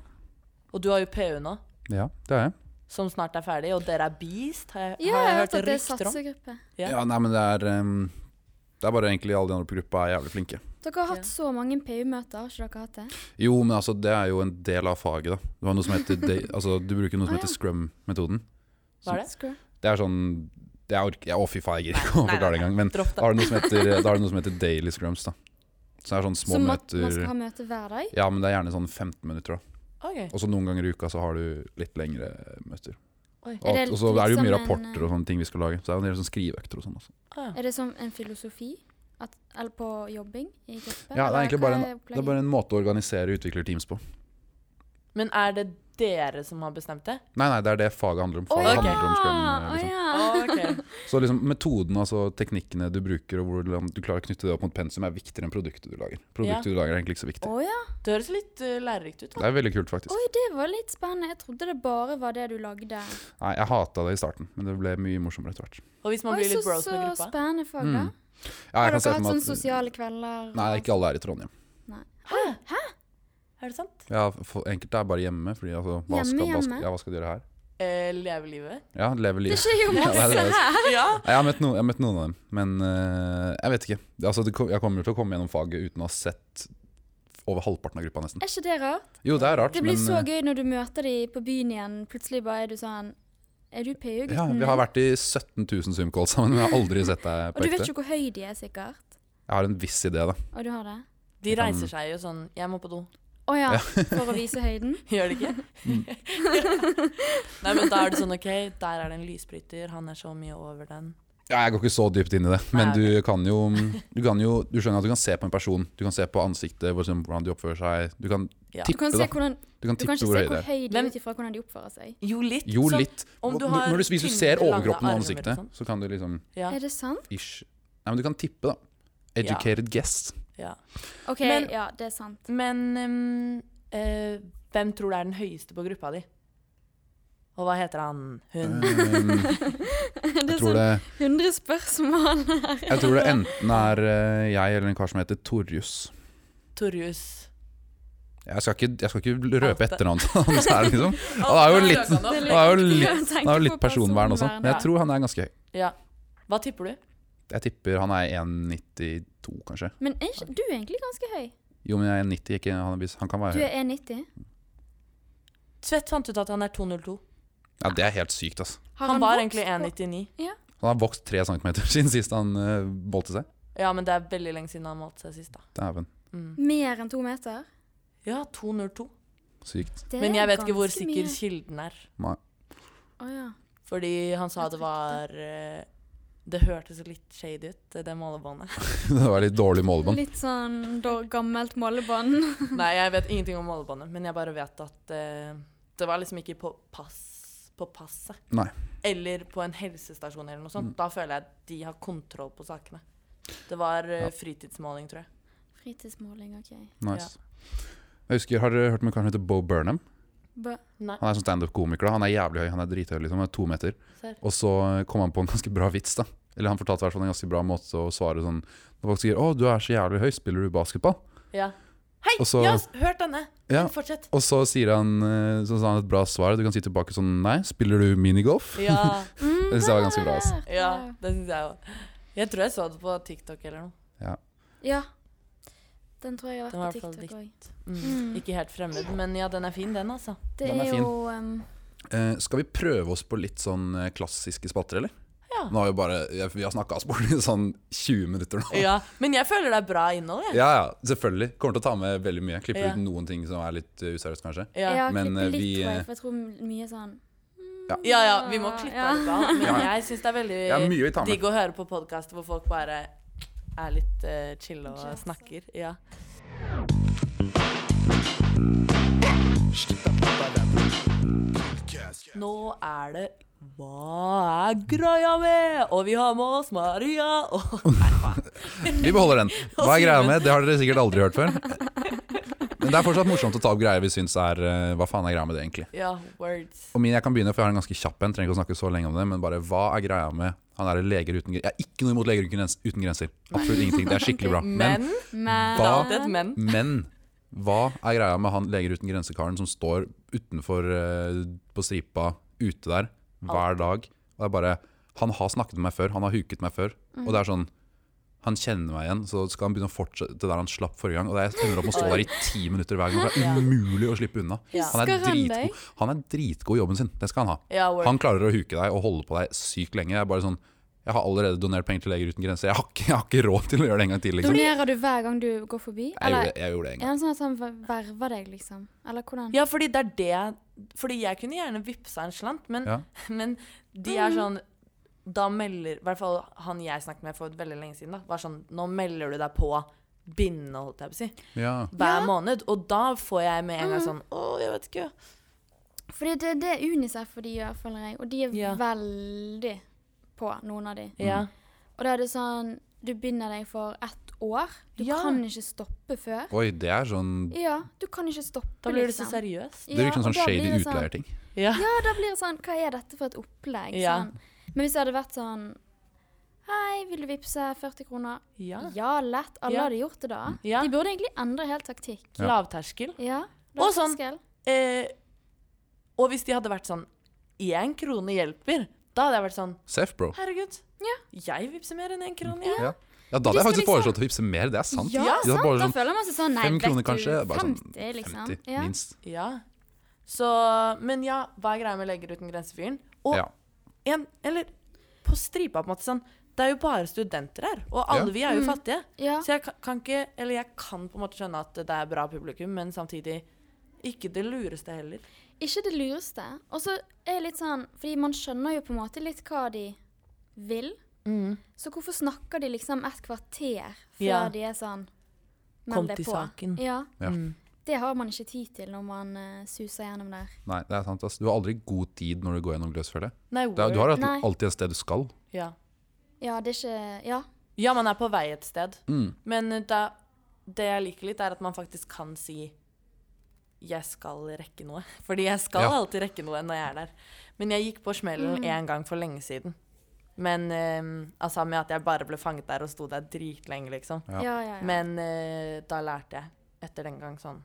Speaker 2: Og du har jo PU nå,
Speaker 3: Ja, det er jeg.
Speaker 2: som snart er ferdig, og dere er beast, har jeg,
Speaker 1: Ja,
Speaker 2: har
Speaker 1: jeg
Speaker 2: jeg
Speaker 1: har hørt at
Speaker 2: hørt
Speaker 1: det er
Speaker 2: rykter om.
Speaker 1: satsegruppe.
Speaker 2: Ja.
Speaker 3: Ja, nei, men det er ehm, Det er bare egentlig alle de andre på gruppa er jævlig flinke.
Speaker 1: Dere har
Speaker 2: Ja.
Speaker 1: hatt så mange PU-møter, har ikke dere hatt det?
Speaker 3: Jo, men altså, det er jo en del av faget, da. Du, har noe som heter, de, altså, du bruker noe som
Speaker 1: Å,
Speaker 3: heter
Speaker 1: ja.
Speaker 3: scrum-metoden.
Speaker 2: Hva er det?
Speaker 1: Skru.
Speaker 3: Det er sånn det er, ork- ja, Å, fy faen, jeg gidder ikke å
Speaker 2: Nei, nei,
Speaker 3: forklare det engang. Men da
Speaker 2: Dropp det.
Speaker 3: har du noe som heter, da har du noe som heter daily scrums, da. Så det er sånn små
Speaker 1: Så man, man
Speaker 3: møter
Speaker 1: skal ha møte hver dag?
Speaker 3: Ja, men det er gjerne sånn 15 minutter, da.
Speaker 2: Ok.
Speaker 3: Og så noen ganger i uka så har du litt lengre møter.
Speaker 2: Oi.
Speaker 3: Og,
Speaker 1: Er det
Speaker 3: og så er det jo
Speaker 1: liksom en,
Speaker 3: mye rapporter og sånne ting vi skal lage. Så det er jo en del sånn skriveøkter og sånn også.
Speaker 2: Å, ah, ja.
Speaker 1: Er det som en filosofi? At, eller på jobbing i gruppe?
Speaker 3: Ja, det er
Speaker 1: Eller
Speaker 3: egentlig
Speaker 1: hva
Speaker 3: bare en,
Speaker 1: opplegget?
Speaker 3: det er bare en måte å organisere utviklerteams på.
Speaker 2: Men er det dere som har bestemt det?
Speaker 3: Nei, nei, det er det faget handler om.
Speaker 1: Å
Speaker 3: Faget
Speaker 1: ja!
Speaker 3: handler om scrum, eh,
Speaker 1: Å
Speaker 3: liksom.
Speaker 1: ja.
Speaker 2: Ah, Ok.
Speaker 3: Så liksom metoden, altså teknikkene du bruker og hvordan du klarer å knytte det opp mot pensum, er viktigere enn produktet du lager. Produktet du lager er egentlig ikke så viktig.
Speaker 1: Å ja.
Speaker 2: Det høres litt eh, lærerikt ut. da.
Speaker 3: Det er veldig kult, faktisk.
Speaker 1: Oi, det var litt spennende. Jeg trodde det bare var det du lagde.
Speaker 3: Nei, jeg hata det i starten, men det ble mye morsommere etter hvert.
Speaker 2: Og hvis man
Speaker 1: Oi,
Speaker 2: blir
Speaker 1: så,
Speaker 2: litt bros
Speaker 1: så
Speaker 2: med gruppa
Speaker 1: spennende fag, da.
Speaker 3: Mm. Ja,
Speaker 1: Har
Speaker 3: jeg
Speaker 1: dere
Speaker 3: kan se
Speaker 1: hatt sånn
Speaker 3: for meg
Speaker 1: sånne
Speaker 3: at
Speaker 1: sosiale kvelder?
Speaker 3: Nei, ikke alle er i Trondheim.
Speaker 2: Hæ? Ah, Er det sant?
Speaker 3: Ja, for enkelte er bare hjemme, fordi altså hva
Speaker 1: Hjemme,
Speaker 3: skal, hva skal,
Speaker 1: hjemme?
Speaker 3: ja, hva skal de gjøre her?
Speaker 2: Eh, leve livet?
Speaker 3: Ja, leve
Speaker 1: Det
Speaker 3: livet.
Speaker 1: skjer jo
Speaker 3: Ja, det
Speaker 1: masse
Speaker 3: er det.
Speaker 1: her!
Speaker 2: Ja.
Speaker 3: Nei, Jeg har møtt, no, jeg har møtt noen av dem, men eh, jeg vet ikke. Det- Altså, det, kom- jeg kommer jo til å komme gjennom faget uten å ha sett over halvparten av gruppa, nesten.
Speaker 1: Er ikke det rart?
Speaker 3: Jo, det er rart,
Speaker 1: Det blir
Speaker 3: men
Speaker 1: så
Speaker 3: eh,
Speaker 1: gøy når du møter de på byen igjen. Plutselig bare er du sånn Er du PU-gutten?
Speaker 3: ja, vi har vært i 17 000 Zoom-calls sammen, men jeg har aldri sett deg
Speaker 1: Og
Speaker 3: på
Speaker 1: du vet
Speaker 3: ekte.
Speaker 1: ikke hvor høy de er, sikkert?
Speaker 3: Jeg har en viss idé, da.
Speaker 1: Og du har det?
Speaker 2: De reiser seg jo sånn Jeg må på do.
Speaker 1: Å ja, for å vise høyden?
Speaker 2: Gjør de ikke? Mm. Nei, men da er det sånn OK, der er det en lysbryter, han er så mye over den.
Speaker 3: Ja, jeg går ikke så dypt inn i det, men
Speaker 2: Nei,
Speaker 3: du kan jo du, kan jo du skjønner at du kan se på en person. Du kan se på ansiktet, hvor- hvordan de oppfører seg. Du kan
Speaker 2: Ja.
Speaker 1: Du
Speaker 3: tippe,
Speaker 1: kan, se
Speaker 3: da.
Speaker 1: hvordan,
Speaker 3: Du kan
Speaker 1: du kan
Speaker 3: tippe
Speaker 1: ikke
Speaker 3: hvor
Speaker 1: se
Speaker 3: høy det
Speaker 1: hvor
Speaker 3: er.
Speaker 1: høy de
Speaker 2: Hvem-
Speaker 1: er ut ifra hvordan de oppfører seg.
Speaker 2: Jo, litt.
Speaker 3: Jo,
Speaker 2: sånn-
Speaker 3: litt.
Speaker 2: om du
Speaker 3: Når-
Speaker 2: har
Speaker 3: når du, hvis du ser
Speaker 2: tyngdelange
Speaker 3: overkroppen og
Speaker 2: armer,
Speaker 3: ansiktet,
Speaker 2: sånn.
Speaker 3: så kan du liksom
Speaker 2: Ja.
Speaker 1: Er det sant?
Speaker 3: ish Nei, men du kan tippe, da. Educated guess.
Speaker 2: ja.
Speaker 1: OK,
Speaker 2: Men-
Speaker 1: ja, det er sant.
Speaker 2: Men ehm, eh, hvem tror du er den høyeste på gruppa di? Og hva heter han? Hun?
Speaker 3: Um,
Speaker 1: Det
Speaker 3: jeg,
Speaker 1: er
Speaker 3: tror
Speaker 1: sånn
Speaker 3: det,
Speaker 1: 100 spørsmål her.
Speaker 3: jeg tror det enten er eh, jeg eller en kar som heter Torjus.
Speaker 2: Torjus.
Speaker 3: Jeg skal ikke, jeg skal ikke røpe
Speaker 2: Alt det-
Speaker 3: etternavnet hans her, liksom. Han er jo litt,
Speaker 2: Det er
Speaker 3: han er jo
Speaker 1: viktig å
Speaker 3: litt,
Speaker 1: tenke
Speaker 3: han er jo
Speaker 1: på
Speaker 3: litt personvern også,
Speaker 1: personvern, sånn.
Speaker 3: men
Speaker 2: ja.
Speaker 3: jeg tror han er ganske høy.
Speaker 2: Ja. Hva tipper du?
Speaker 3: Jeg tipper han er 1,92 kanskje.
Speaker 1: Men er ikke du er egentlig ganske høy?
Speaker 3: Jo, men jeg er 90, ikke han, er bis- han kan være
Speaker 1: Du
Speaker 3: høy.
Speaker 1: er 1,90.
Speaker 2: Tvedt fant ut at han er 202.
Speaker 3: Ja, det er helt sykt, ass.
Speaker 1: Har
Speaker 2: Han var
Speaker 1: vokst
Speaker 2: egentlig
Speaker 1: på-
Speaker 2: 199.
Speaker 3: Han har vokst 3 cm siden sist han uh, bolte seg.
Speaker 2: Ja, men det er veldig lenge siden han målte seg sist, da.
Speaker 3: Dæven.
Speaker 2: Mm.
Speaker 1: Mer enn to meter?
Speaker 2: Ja, 202.
Speaker 3: Sykt.
Speaker 1: Det
Speaker 2: Men
Speaker 1: er
Speaker 2: jeg vet ikke hvor
Speaker 1: ganske
Speaker 2: sikker
Speaker 1: mye.
Speaker 2: kilden er.
Speaker 3: Nei.
Speaker 1: Å ja.
Speaker 2: Fordi han sa
Speaker 1: Jeg
Speaker 2: det
Speaker 1: tror
Speaker 2: var eh, Det hørtes litt shady ut, det målebåndet.
Speaker 3: det var litt dårlig målebånd.
Speaker 1: Litt sånn dår- gammelt målebånd.
Speaker 2: Nei, jeg vet ingenting om målebåndet, men jeg bare vet at eh, det var liksom ikke på pass på passet.
Speaker 3: Nei. Mm.
Speaker 2: Eller på en helsestasjon eller noe sånt. Da føler jeg at de har kontroll på sakene. Det var eh,
Speaker 3: Ja.
Speaker 2: fritidsmåling, tror jeg.
Speaker 1: Fritidsmåling, OK.
Speaker 3: Nice. Jeg husker, Har dere hørt om en kar som heter Bo Burnham?
Speaker 1: Ba-
Speaker 2: Nei,
Speaker 3: Han er sånn standup-komiker. da. Han er jævlig høy. Han er drithøy, liksom. Han er to meter.
Speaker 2: serr.
Speaker 3: Og så kom han på en ganske bra vits, da. Eller han fortalte i hvert fall en ganske bra måte å svare sånn Når folk sier 'Å, du er så jævlig høy, spiller du basketball?'
Speaker 2: Ja. Hei,
Speaker 3: Og så-
Speaker 2: jeg har s- hørt denne!
Speaker 3: Ja.
Speaker 2: Fortsett.
Speaker 3: Og så sier han eh, Så sa han et bra svar. Du kan si tilbake sånn 'Nei, spiller du minigolf?'
Speaker 2: Ja,
Speaker 1: Mm,
Speaker 3: Det synes jeg var ganske bra, altså.
Speaker 1: der, der.
Speaker 2: ja det syns jeg òg. Jeg tror jeg så det på TikTok eller noe.
Speaker 1: Ja. Den tror jeg har
Speaker 2: Den var i
Speaker 1: vært
Speaker 2: hvert
Speaker 1: på
Speaker 2: fall
Speaker 1: TikTok òg.
Speaker 2: Mm. Ikke helt fremmed, men ja, den er fin, den, altså.
Speaker 1: Det
Speaker 3: Den er
Speaker 1: er
Speaker 3: fin.
Speaker 1: jo ehm,
Speaker 3: Eh, skal vi prøve oss på litt sånn eh, klassiske spatter, eller?
Speaker 2: Ja.
Speaker 3: Nå har vi bare jeg- Vi har snakka oss bort i sånn 20 minutter nå.
Speaker 2: ja. Men jeg føler det er bra innhold, jeg.
Speaker 3: Ja, ja, selvfølgelig. Kommer til å ta med veldig mye. Klipper
Speaker 2: Ja.
Speaker 3: ut noen ting som er litt eh, useriøst, kanskje.
Speaker 1: Ja,
Speaker 2: Ja.
Speaker 3: Men,
Speaker 1: klippe
Speaker 3: eh,
Speaker 1: litt,
Speaker 3: vi,
Speaker 1: tror
Speaker 3: eh,
Speaker 1: jeg, for jeg tror mye sånn
Speaker 2: ja, ja, vi må klippe
Speaker 1: Ja.
Speaker 2: alt av, men
Speaker 3: Ja, ja.
Speaker 2: jeg syns det er veldig
Speaker 3: Ja, mye vi tar med.
Speaker 2: digg å høre på podkast hvor folk bare er litt eh, chill og snakker. Ja. Nå er det Hva er greia med? Og vi har med oss Maria og
Speaker 3: Vi beholder den. Hva er greia med? Det har dere sikkert aldri hørt før. Men det er fortsatt morsomt å ta opp greier vi syns er eh, Hva faen er greia med det, egentlig?
Speaker 2: Ja, words.
Speaker 3: Og min, jeg kan begynne, for jeg har en ganske kjapp en. Trenger ikke å snakke så lenge om det, men bare hva er greia med han er leger uten grenser? Jeg har ikke noe imot leger uten grens- uten grenser. Absolutt ingenting. Det er skikkelig bra. Men,
Speaker 1: Men
Speaker 2: Men eh,
Speaker 3: Hva?
Speaker 2: Det er et men.
Speaker 3: men hva er greia med han leger uten grenser-karen som står utenfor eh, på stripa ute der hver dag? Og det er bare Han har snakket med meg før, han har huket meg før. Og det er sånn han kjenner meg igjen, så skal han begynne å fortsette der han slapp forrige gang. Og det er- jeg ender opp med å stå der i ti minutter hver gang. for Det
Speaker 2: Ja.
Speaker 3: er umulig å slippe unna.
Speaker 2: Ja.
Speaker 3: Han er
Speaker 1: Husker han deg?
Speaker 3: dritgod. Han er dritgod i jobben sin. Det skal han ha.
Speaker 2: Ja, word.
Speaker 3: Han klarer å huke deg og holde på deg sykt lenge. Jeg er bare sånn Jeg har allerede donert penger til Leger uten grenser. Jeg har ikke, jeg har ikke råd til å gjøre det en gang til, liksom.
Speaker 1: Donerer du hver gang du går forbi?
Speaker 3: Jeg gjorde,
Speaker 1: Eller
Speaker 3: det- jeg gjorde det en
Speaker 1: er
Speaker 3: gang.
Speaker 1: han sånn at han ver- verver deg, liksom? Eller hvordan?
Speaker 2: Ja, fordi det er det Fordi jeg kunne gjerne vippsa en slant, men,
Speaker 3: Ja.
Speaker 2: men de er sånn Da melder I hvert fall han jeg snakket med for veldig lenge siden, da, var sånn Nå melder du deg på bindende, holdt jeg på å si,
Speaker 3: Ja.
Speaker 2: hver
Speaker 1: Ja. Mm.
Speaker 2: måned. Og da får jeg med en gang sånn Å, jeg vet ikke.
Speaker 1: Fordi det, det er Unicef for de gjør, føler jeg. Og de er
Speaker 2: Ja.
Speaker 1: veldig på, noen av de.
Speaker 3: Mm.
Speaker 2: Ja.
Speaker 1: Og da er det sånn Du binder deg for ett år. Du
Speaker 2: Ja.
Speaker 1: kan ikke stoppe før.
Speaker 3: Oi, det er sånn
Speaker 1: Ja, du kan ikke stoppe,
Speaker 2: Da blir det så
Speaker 1: liksom.
Speaker 2: seriøst.
Speaker 3: Det virker som
Speaker 1: og
Speaker 3: sånn
Speaker 1: da blir
Speaker 3: shady
Speaker 1: det sånn-
Speaker 3: utleierting.
Speaker 2: Ja.
Speaker 1: Ja, da blir det sånn Hva er dette for et opplegg?
Speaker 2: Ja.
Speaker 1: Sånn. Men hvis det hadde vært sånn Hei, vil du vippse 40 kroner?
Speaker 2: ja.
Speaker 1: Ja, lett. Alle
Speaker 2: Ja.
Speaker 1: hadde gjort det da.
Speaker 2: Ja.
Speaker 1: De burde egentlig endre helt taktikk.
Speaker 2: Lavterskel.
Speaker 1: Ja.
Speaker 2: Og sånn-
Speaker 1: lavterskel.
Speaker 2: Eh, og hvis de hadde vært sånn Én krone hjelper, da hadde jeg vært sånn
Speaker 3: Seff, bro.
Speaker 2: Herregud,
Speaker 1: Ja.
Speaker 2: jeg vippser mer enn én krone, jeg.
Speaker 3: Ja. ja, da hadde jeg
Speaker 1: skal
Speaker 3: faktisk
Speaker 1: liksom-
Speaker 3: foreslått å vippse mer. Det er sant.
Speaker 1: Ja,
Speaker 3: De hadde
Speaker 1: sant.
Speaker 3: bare
Speaker 1: Da
Speaker 3: sånn
Speaker 1: føler man seg sånn Nei,
Speaker 3: fem
Speaker 1: vet
Speaker 3: kroner
Speaker 1: du,
Speaker 3: kanskje, bare sånn
Speaker 1: 50, liksom.
Speaker 3: 50,
Speaker 1: ja.
Speaker 3: minst.
Speaker 2: Ja. Så, men ja, hva er greia med Leger uten grenser-fyren? Og
Speaker 3: Ja.
Speaker 2: en, eller på stripa, på en måte, sånn Det er jo bare studenter her, og alle
Speaker 3: Ja.
Speaker 2: vi er jo fattige.
Speaker 1: Ja.
Speaker 2: Så jeg kan, kan ikke Eller jeg kan på en måte skjønne at det er bra publikum, men samtidig ikke det lureste heller.
Speaker 1: Ikke det lureste. Og så er jeg litt sånn Fordi man skjønner jo på en måte litt hva de vil. Så hvorfor snakker de liksom et kvarter før
Speaker 2: Mm. Ja.
Speaker 1: de er sånn
Speaker 2: Kom
Speaker 1: "Meld deg
Speaker 2: til
Speaker 1: på."
Speaker 2: saken.
Speaker 1: Ja.
Speaker 3: Ja.
Speaker 1: Det har man ikke tid til når man eh, suser gjennom der.
Speaker 3: Nei, det er sant. Ass. Du har aldri god tid når du går gjennom gløsfølget.
Speaker 2: Nei,
Speaker 3: Du har alltid-
Speaker 1: Nei.
Speaker 3: alltid et sted du skal.
Speaker 2: ja.
Speaker 1: Ja, det er ikke Ja.
Speaker 2: ja, man er på vei et sted,
Speaker 3: Mm.
Speaker 2: men da, det jeg liker litt, er at man faktisk kan si jeg skal rekke noe. Fordi jeg skal
Speaker 3: Ja.
Speaker 2: alltid rekke noe når jeg er der. Men jeg gikk på smellen en gang for lenge siden. Men eh, altså med at jeg bare ble fanget der og sto der dritlenge, liksom.
Speaker 3: Ja.
Speaker 1: Ja, ja, ja.
Speaker 2: Men eh, da lærte jeg etter den gang sånn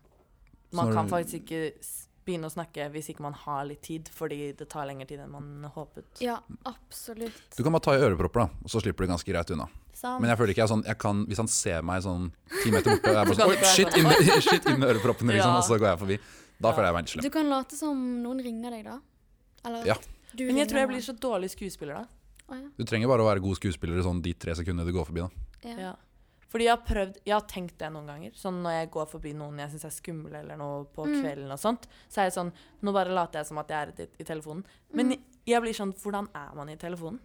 Speaker 3: Så
Speaker 2: Man
Speaker 3: når
Speaker 2: kan
Speaker 3: du-
Speaker 2: faktisk ikke s- begynne å snakke hvis ikke man har litt tid, fordi det tar lengre tid enn man håpet.
Speaker 1: ja, absolutt.
Speaker 3: Du kan bare ta i ørepropper, da, og så slipper du ganske greit unna. Men jeg føler ikke jeg er sånn jeg kan, Hvis han ser meg sånn ti meter borte, og jeg
Speaker 2: Så
Speaker 3: bare
Speaker 2: kan
Speaker 3: sånn,
Speaker 2: du
Speaker 3: Oi,
Speaker 2: bare
Speaker 3: shit,
Speaker 2: sånn,
Speaker 3: inn, med- shit inn med øreproppene, liksom,
Speaker 2: Ja.
Speaker 3: og så går jeg forbi. Da føler jeg meg litt slem.
Speaker 1: Du kan late som noen ringer deg, da. Eller
Speaker 3: Ja.
Speaker 1: at du
Speaker 2: Men jeg
Speaker 1: ringer
Speaker 2: tror jeg
Speaker 1: noen.
Speaker 2: blir så dårlig skuespiller da.
Speaker 1: Å, ja.
Speaker 3: Du trenger bare å være god skuespiller i sånn de tre sekundene du går forbi. da
Speaker 1: Ja.
Speaker 2: Ja. Fordi jeg har prøvd Jeg har tenkt det noen ganger. Sånn når jeg går forbi noen jeg syns er skumle eller noe på
Speaker 1: Mm.
Speaker 2: kvelden og sånt, så er jeg sånn Nå bare later jeg som at jeg er i, i telefonen. Men
Speaker 1: Mm.
Speaker 2: jeg blir sånn Hvordan er man i telefonen?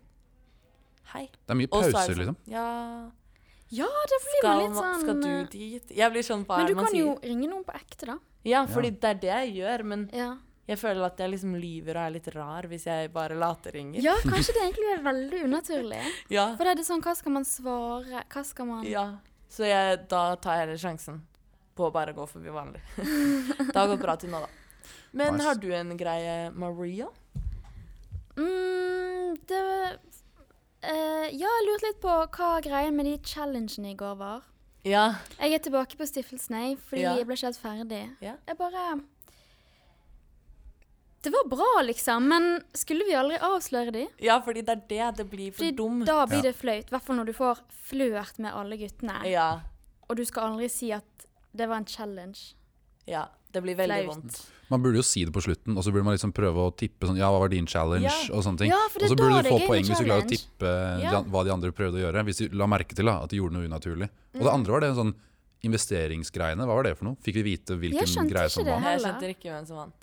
Speaker 2: Hei.
Speaker 3: Det er mye
Speaker 2: Og så er
Speaker 3: pauser,
Speaker 2: det
Speaker 3: liksom.
Speaker 2: sånn, Ja
Speaker 1: Ja, da blir
Speaker 2: skal,
Speaker 1: man litt
Speaker 2: man-
Speaker 1: sånn
Speaker 2: skal
Speaker 1: eh,
Speaker 2: du dit? Jeg blir sånn Hva
Speaker 1: Men
Speaker 2: er
Speaker 1: du
Speaker 2: det man
Speaker 1: kan
Speaker 2: sier?
Speaker 1: jo ringe noen på ekte, da.
Speaker 2: Ja, fordi det er det jeg gjør, men
Speaker 1: Ja,
Speaker 2: jeg føler at jeg liksom lyver og er litt rar hvis jeg bare later ringer.
Speaker 1: ja kanskje det egentlig er veldig unaturlig.
Speaker 2: Ja.
Speaker 1: For da er det sånn, hva skal man svare? Hva skal man
Speaker 2: ja. Så jeg, da tar jeg heller sjansen på å bare gå forbi vanlig. det har gått bra til nå, da. Men
Speaker 3: Nice.
Speaker 2: har du en greie, Maria?
Speaker 1: mm, Det eh, Ja, jeg lurte litt på hva greien med de challengene i går var.
Speaker 2: Ja.
Speaker 1: Jeg er tilbake på stiftelsen, jeg, fordi
Speaker 2: Ja.
Speaker 1: jeg ble ikke helt ferdig.
Speaker 2: Ja.
Speaker 1: Jeg bare Det var bra, liksom, men skulle vi aldri avsløre de?
Speaker 2: ja, fordi det er det. Det blir for
Speaker 1: Fordi
Speaker 2: dum.
Speaker 1: da blir
Speaker 3: Ja.
Speaker 1: det flaut. I hvert fall når du får flørt med alle guttene.
Speaker 2: Ja.
Speaker 1: Og du skal aldri si at det var en challenge.
Speaker 2: Ja, det blir veldig
Speaker 1: Flaut.
Speaker 2: vondt.
Speaker 3: Man burde jo si det på slutten, og så burde man liksom prøve å tippe sånn Ja, hva var din challenge?
Speaker 2: Ja.
Speaker 3: Og sånne ting.
Speaker 1: Ja, for det er
Speaker 3: og så burde
Speaker 1: da
Speaker 3: du
Speaker 1: det
Speaker 3: få
Speaker 1: er gøy med
Speaker 3: poeng hvis du klarer å
Speaker 1: challenge.
Speaker 3: tippe de
Speaker 2: Ja.
Speaker 3: an- hva de andre prøvde å gjøre. Hvis du la merke til da, at de gjorde noe unaturlig. Og det andre var det sånn investeringsgreiene. Hva var det for noe? Fikk vi vite
Speaker 1: Jeg
Speaker 3: hvilken
Speaker 1: skjønte
Speaker 3: greie
Speaker 1: ikke
Speaker 3: som
Speaker 1: det.
Speaker 3: vant?
Speaker 2: Jeg
Speaker 1: Heller.
Speaker 2: skjønte ikke hvem som vant.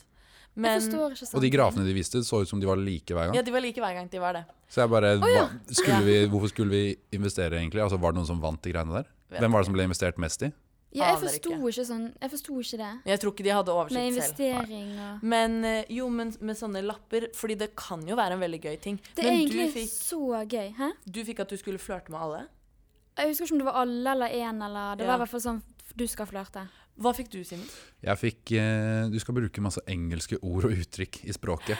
Speaker 1: Jeg
Speaker 2: Men
Speaker 1: forstår ikke sånn.
Speaker 3: Og de grafene de viste, så ut som de var like hver gang.
Speaker 2: Ja, de var like hver gang de var det.
Speaker 3: Så jeg bare hva,
Speaker 1: ja.
Speaker 3: skulle vi, Hvorfor skulle vi investere, egentlig? Altså, Var det noen som vant de greiene der?
Speaker 2: Vet
Speaker 3: Hvem var det som ble investert mest i?
Speaker 1: Ja, jeg
Speaker 2: Aner
Speaker 1: forsto
Speaker 2: ikke.
Speaker 1: ikke sånn Jeg forsto ikke det.
Speaker 2: Jeg tror ikke de hadde
Speaker 1: Med
Speaker 2: oversikt selv.
Speaker 1: investering og
Speaker 2: Men eh, jo, men med sånne lapper Fordi det kan jo være en veldig gøy ting.
Speaker 1: Det er
Speaker 2: men
Speaker 1: egentlig
Speaker 2: du, fikk,
Speaker 1: så gøy. Hæ?
Speaker 2: du fikk at du skulle flørte med alle.
Speaker 1: Jeg husker ikke om det var alle eller én eller Det
Speaker 2: Ja.
Speaker 1: var i hvert fall sånn du skal flørte.
Speaker 2: Hva fikk du, Simen?
Speaker 3: Jeg fikk eh, Du skal bruke masse engelske ord og uttrykk i språket.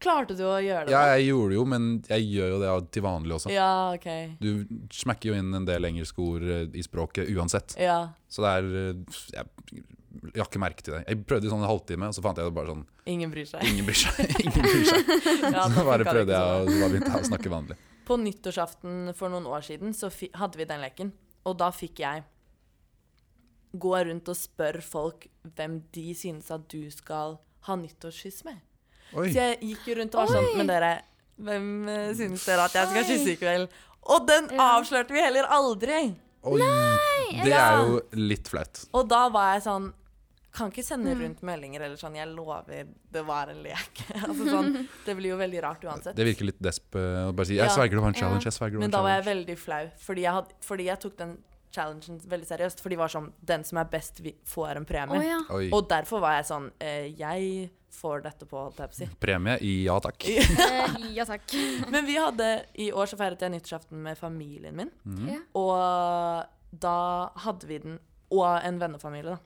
Speaker 2: Klarte du å gjøre det?
Speaker 3: Ja,
Speaker 2: da?
Speaker 3: jeg gjorde det jo, men jeg gjør jo det til vanlig også.
Speaker 2: ja OK.
Speaker 3: Du smekker jo inn en del engelske ord eh, i språket uansett.
Speaker 2: Ja.
Speaker 3: Så det er eh, Jeg jeg har ikke merke til det. Jeg prøvde i sånn en halvtime, og så fant jeg det bare sånn
Speaker 2: Ingen bryr seg.
Speaker 3: Ingen bryr seg. Ingen bryr seg.
Speaker 2: Ja, da
Speaker 3: Så
Speaker 2: funka
Speaker 3: bare
Speaker 2: det
Speaker 3: prøvde
Speaker 2: ikke så bra.
Speaker 3: jeg å så bare begynte jeg å snakke vanlig.
Speaker 2: På nyttårsaften for noen år siden så fi hadde vi den leken, og da fikk jeg gå rundt og spørre folk hvem de synes at du skal ha nyttårskyss med.
Speaker 3: Oi.
Speaker 2: Så jeg gikk jo rundt og var sånn,
Speaker 1: Oi.
Speaker 2: men dere, hvem eh, synes dere at jeg skal kysse i kveld? Og den
Speaker 1: Ja.
Speaker 2: avslørte vi heller aldri!
Speaker 3: Oi. Det er jo litt flaut.
Speaker 2: Og da var jeg sånn, kan ikke sende
Speaker 1: Mm.
Speaker 2: rundt meldinger eller sånn, jeg lover det var en lek. altså sånn, det blir jo veldig rart uansett.
Speaker 3: Det virker litt desp eh, å bare si
Speaker 2: Ja.
Speaker 3: 'jeg sverger det var en
Speaker 1: Ja.
Speaker 3: challenge'. jeg sverger det var
Speaker 2: Men
Speaker 3: en
Speaker 2: da var
Speaker 3: challenge.
Speaker 2: jeg veldig flau, fordi jeg, had, fordi jeg tok den challengen veldig seriøst. For de var sånn Den som er best, vi- får en
Speaker 1: Å
Speaker 2: premie.
Speaker 1: ja.
Speaker 3: Oi.
Speaker 2: Og derfor var jeg sånn eh, Jeg får dette på, holdt jeg på å si.
Speaker 3: Premie i ja takk.
Speaker 1: Eh, ja takk.
Speaker 2: Men vi hadde I år så feiret jeg nyttårsaften med familien min.
Speaker 1: Ja.
Speaker 2: Og da hadde vi den Og en vennefamilie, da.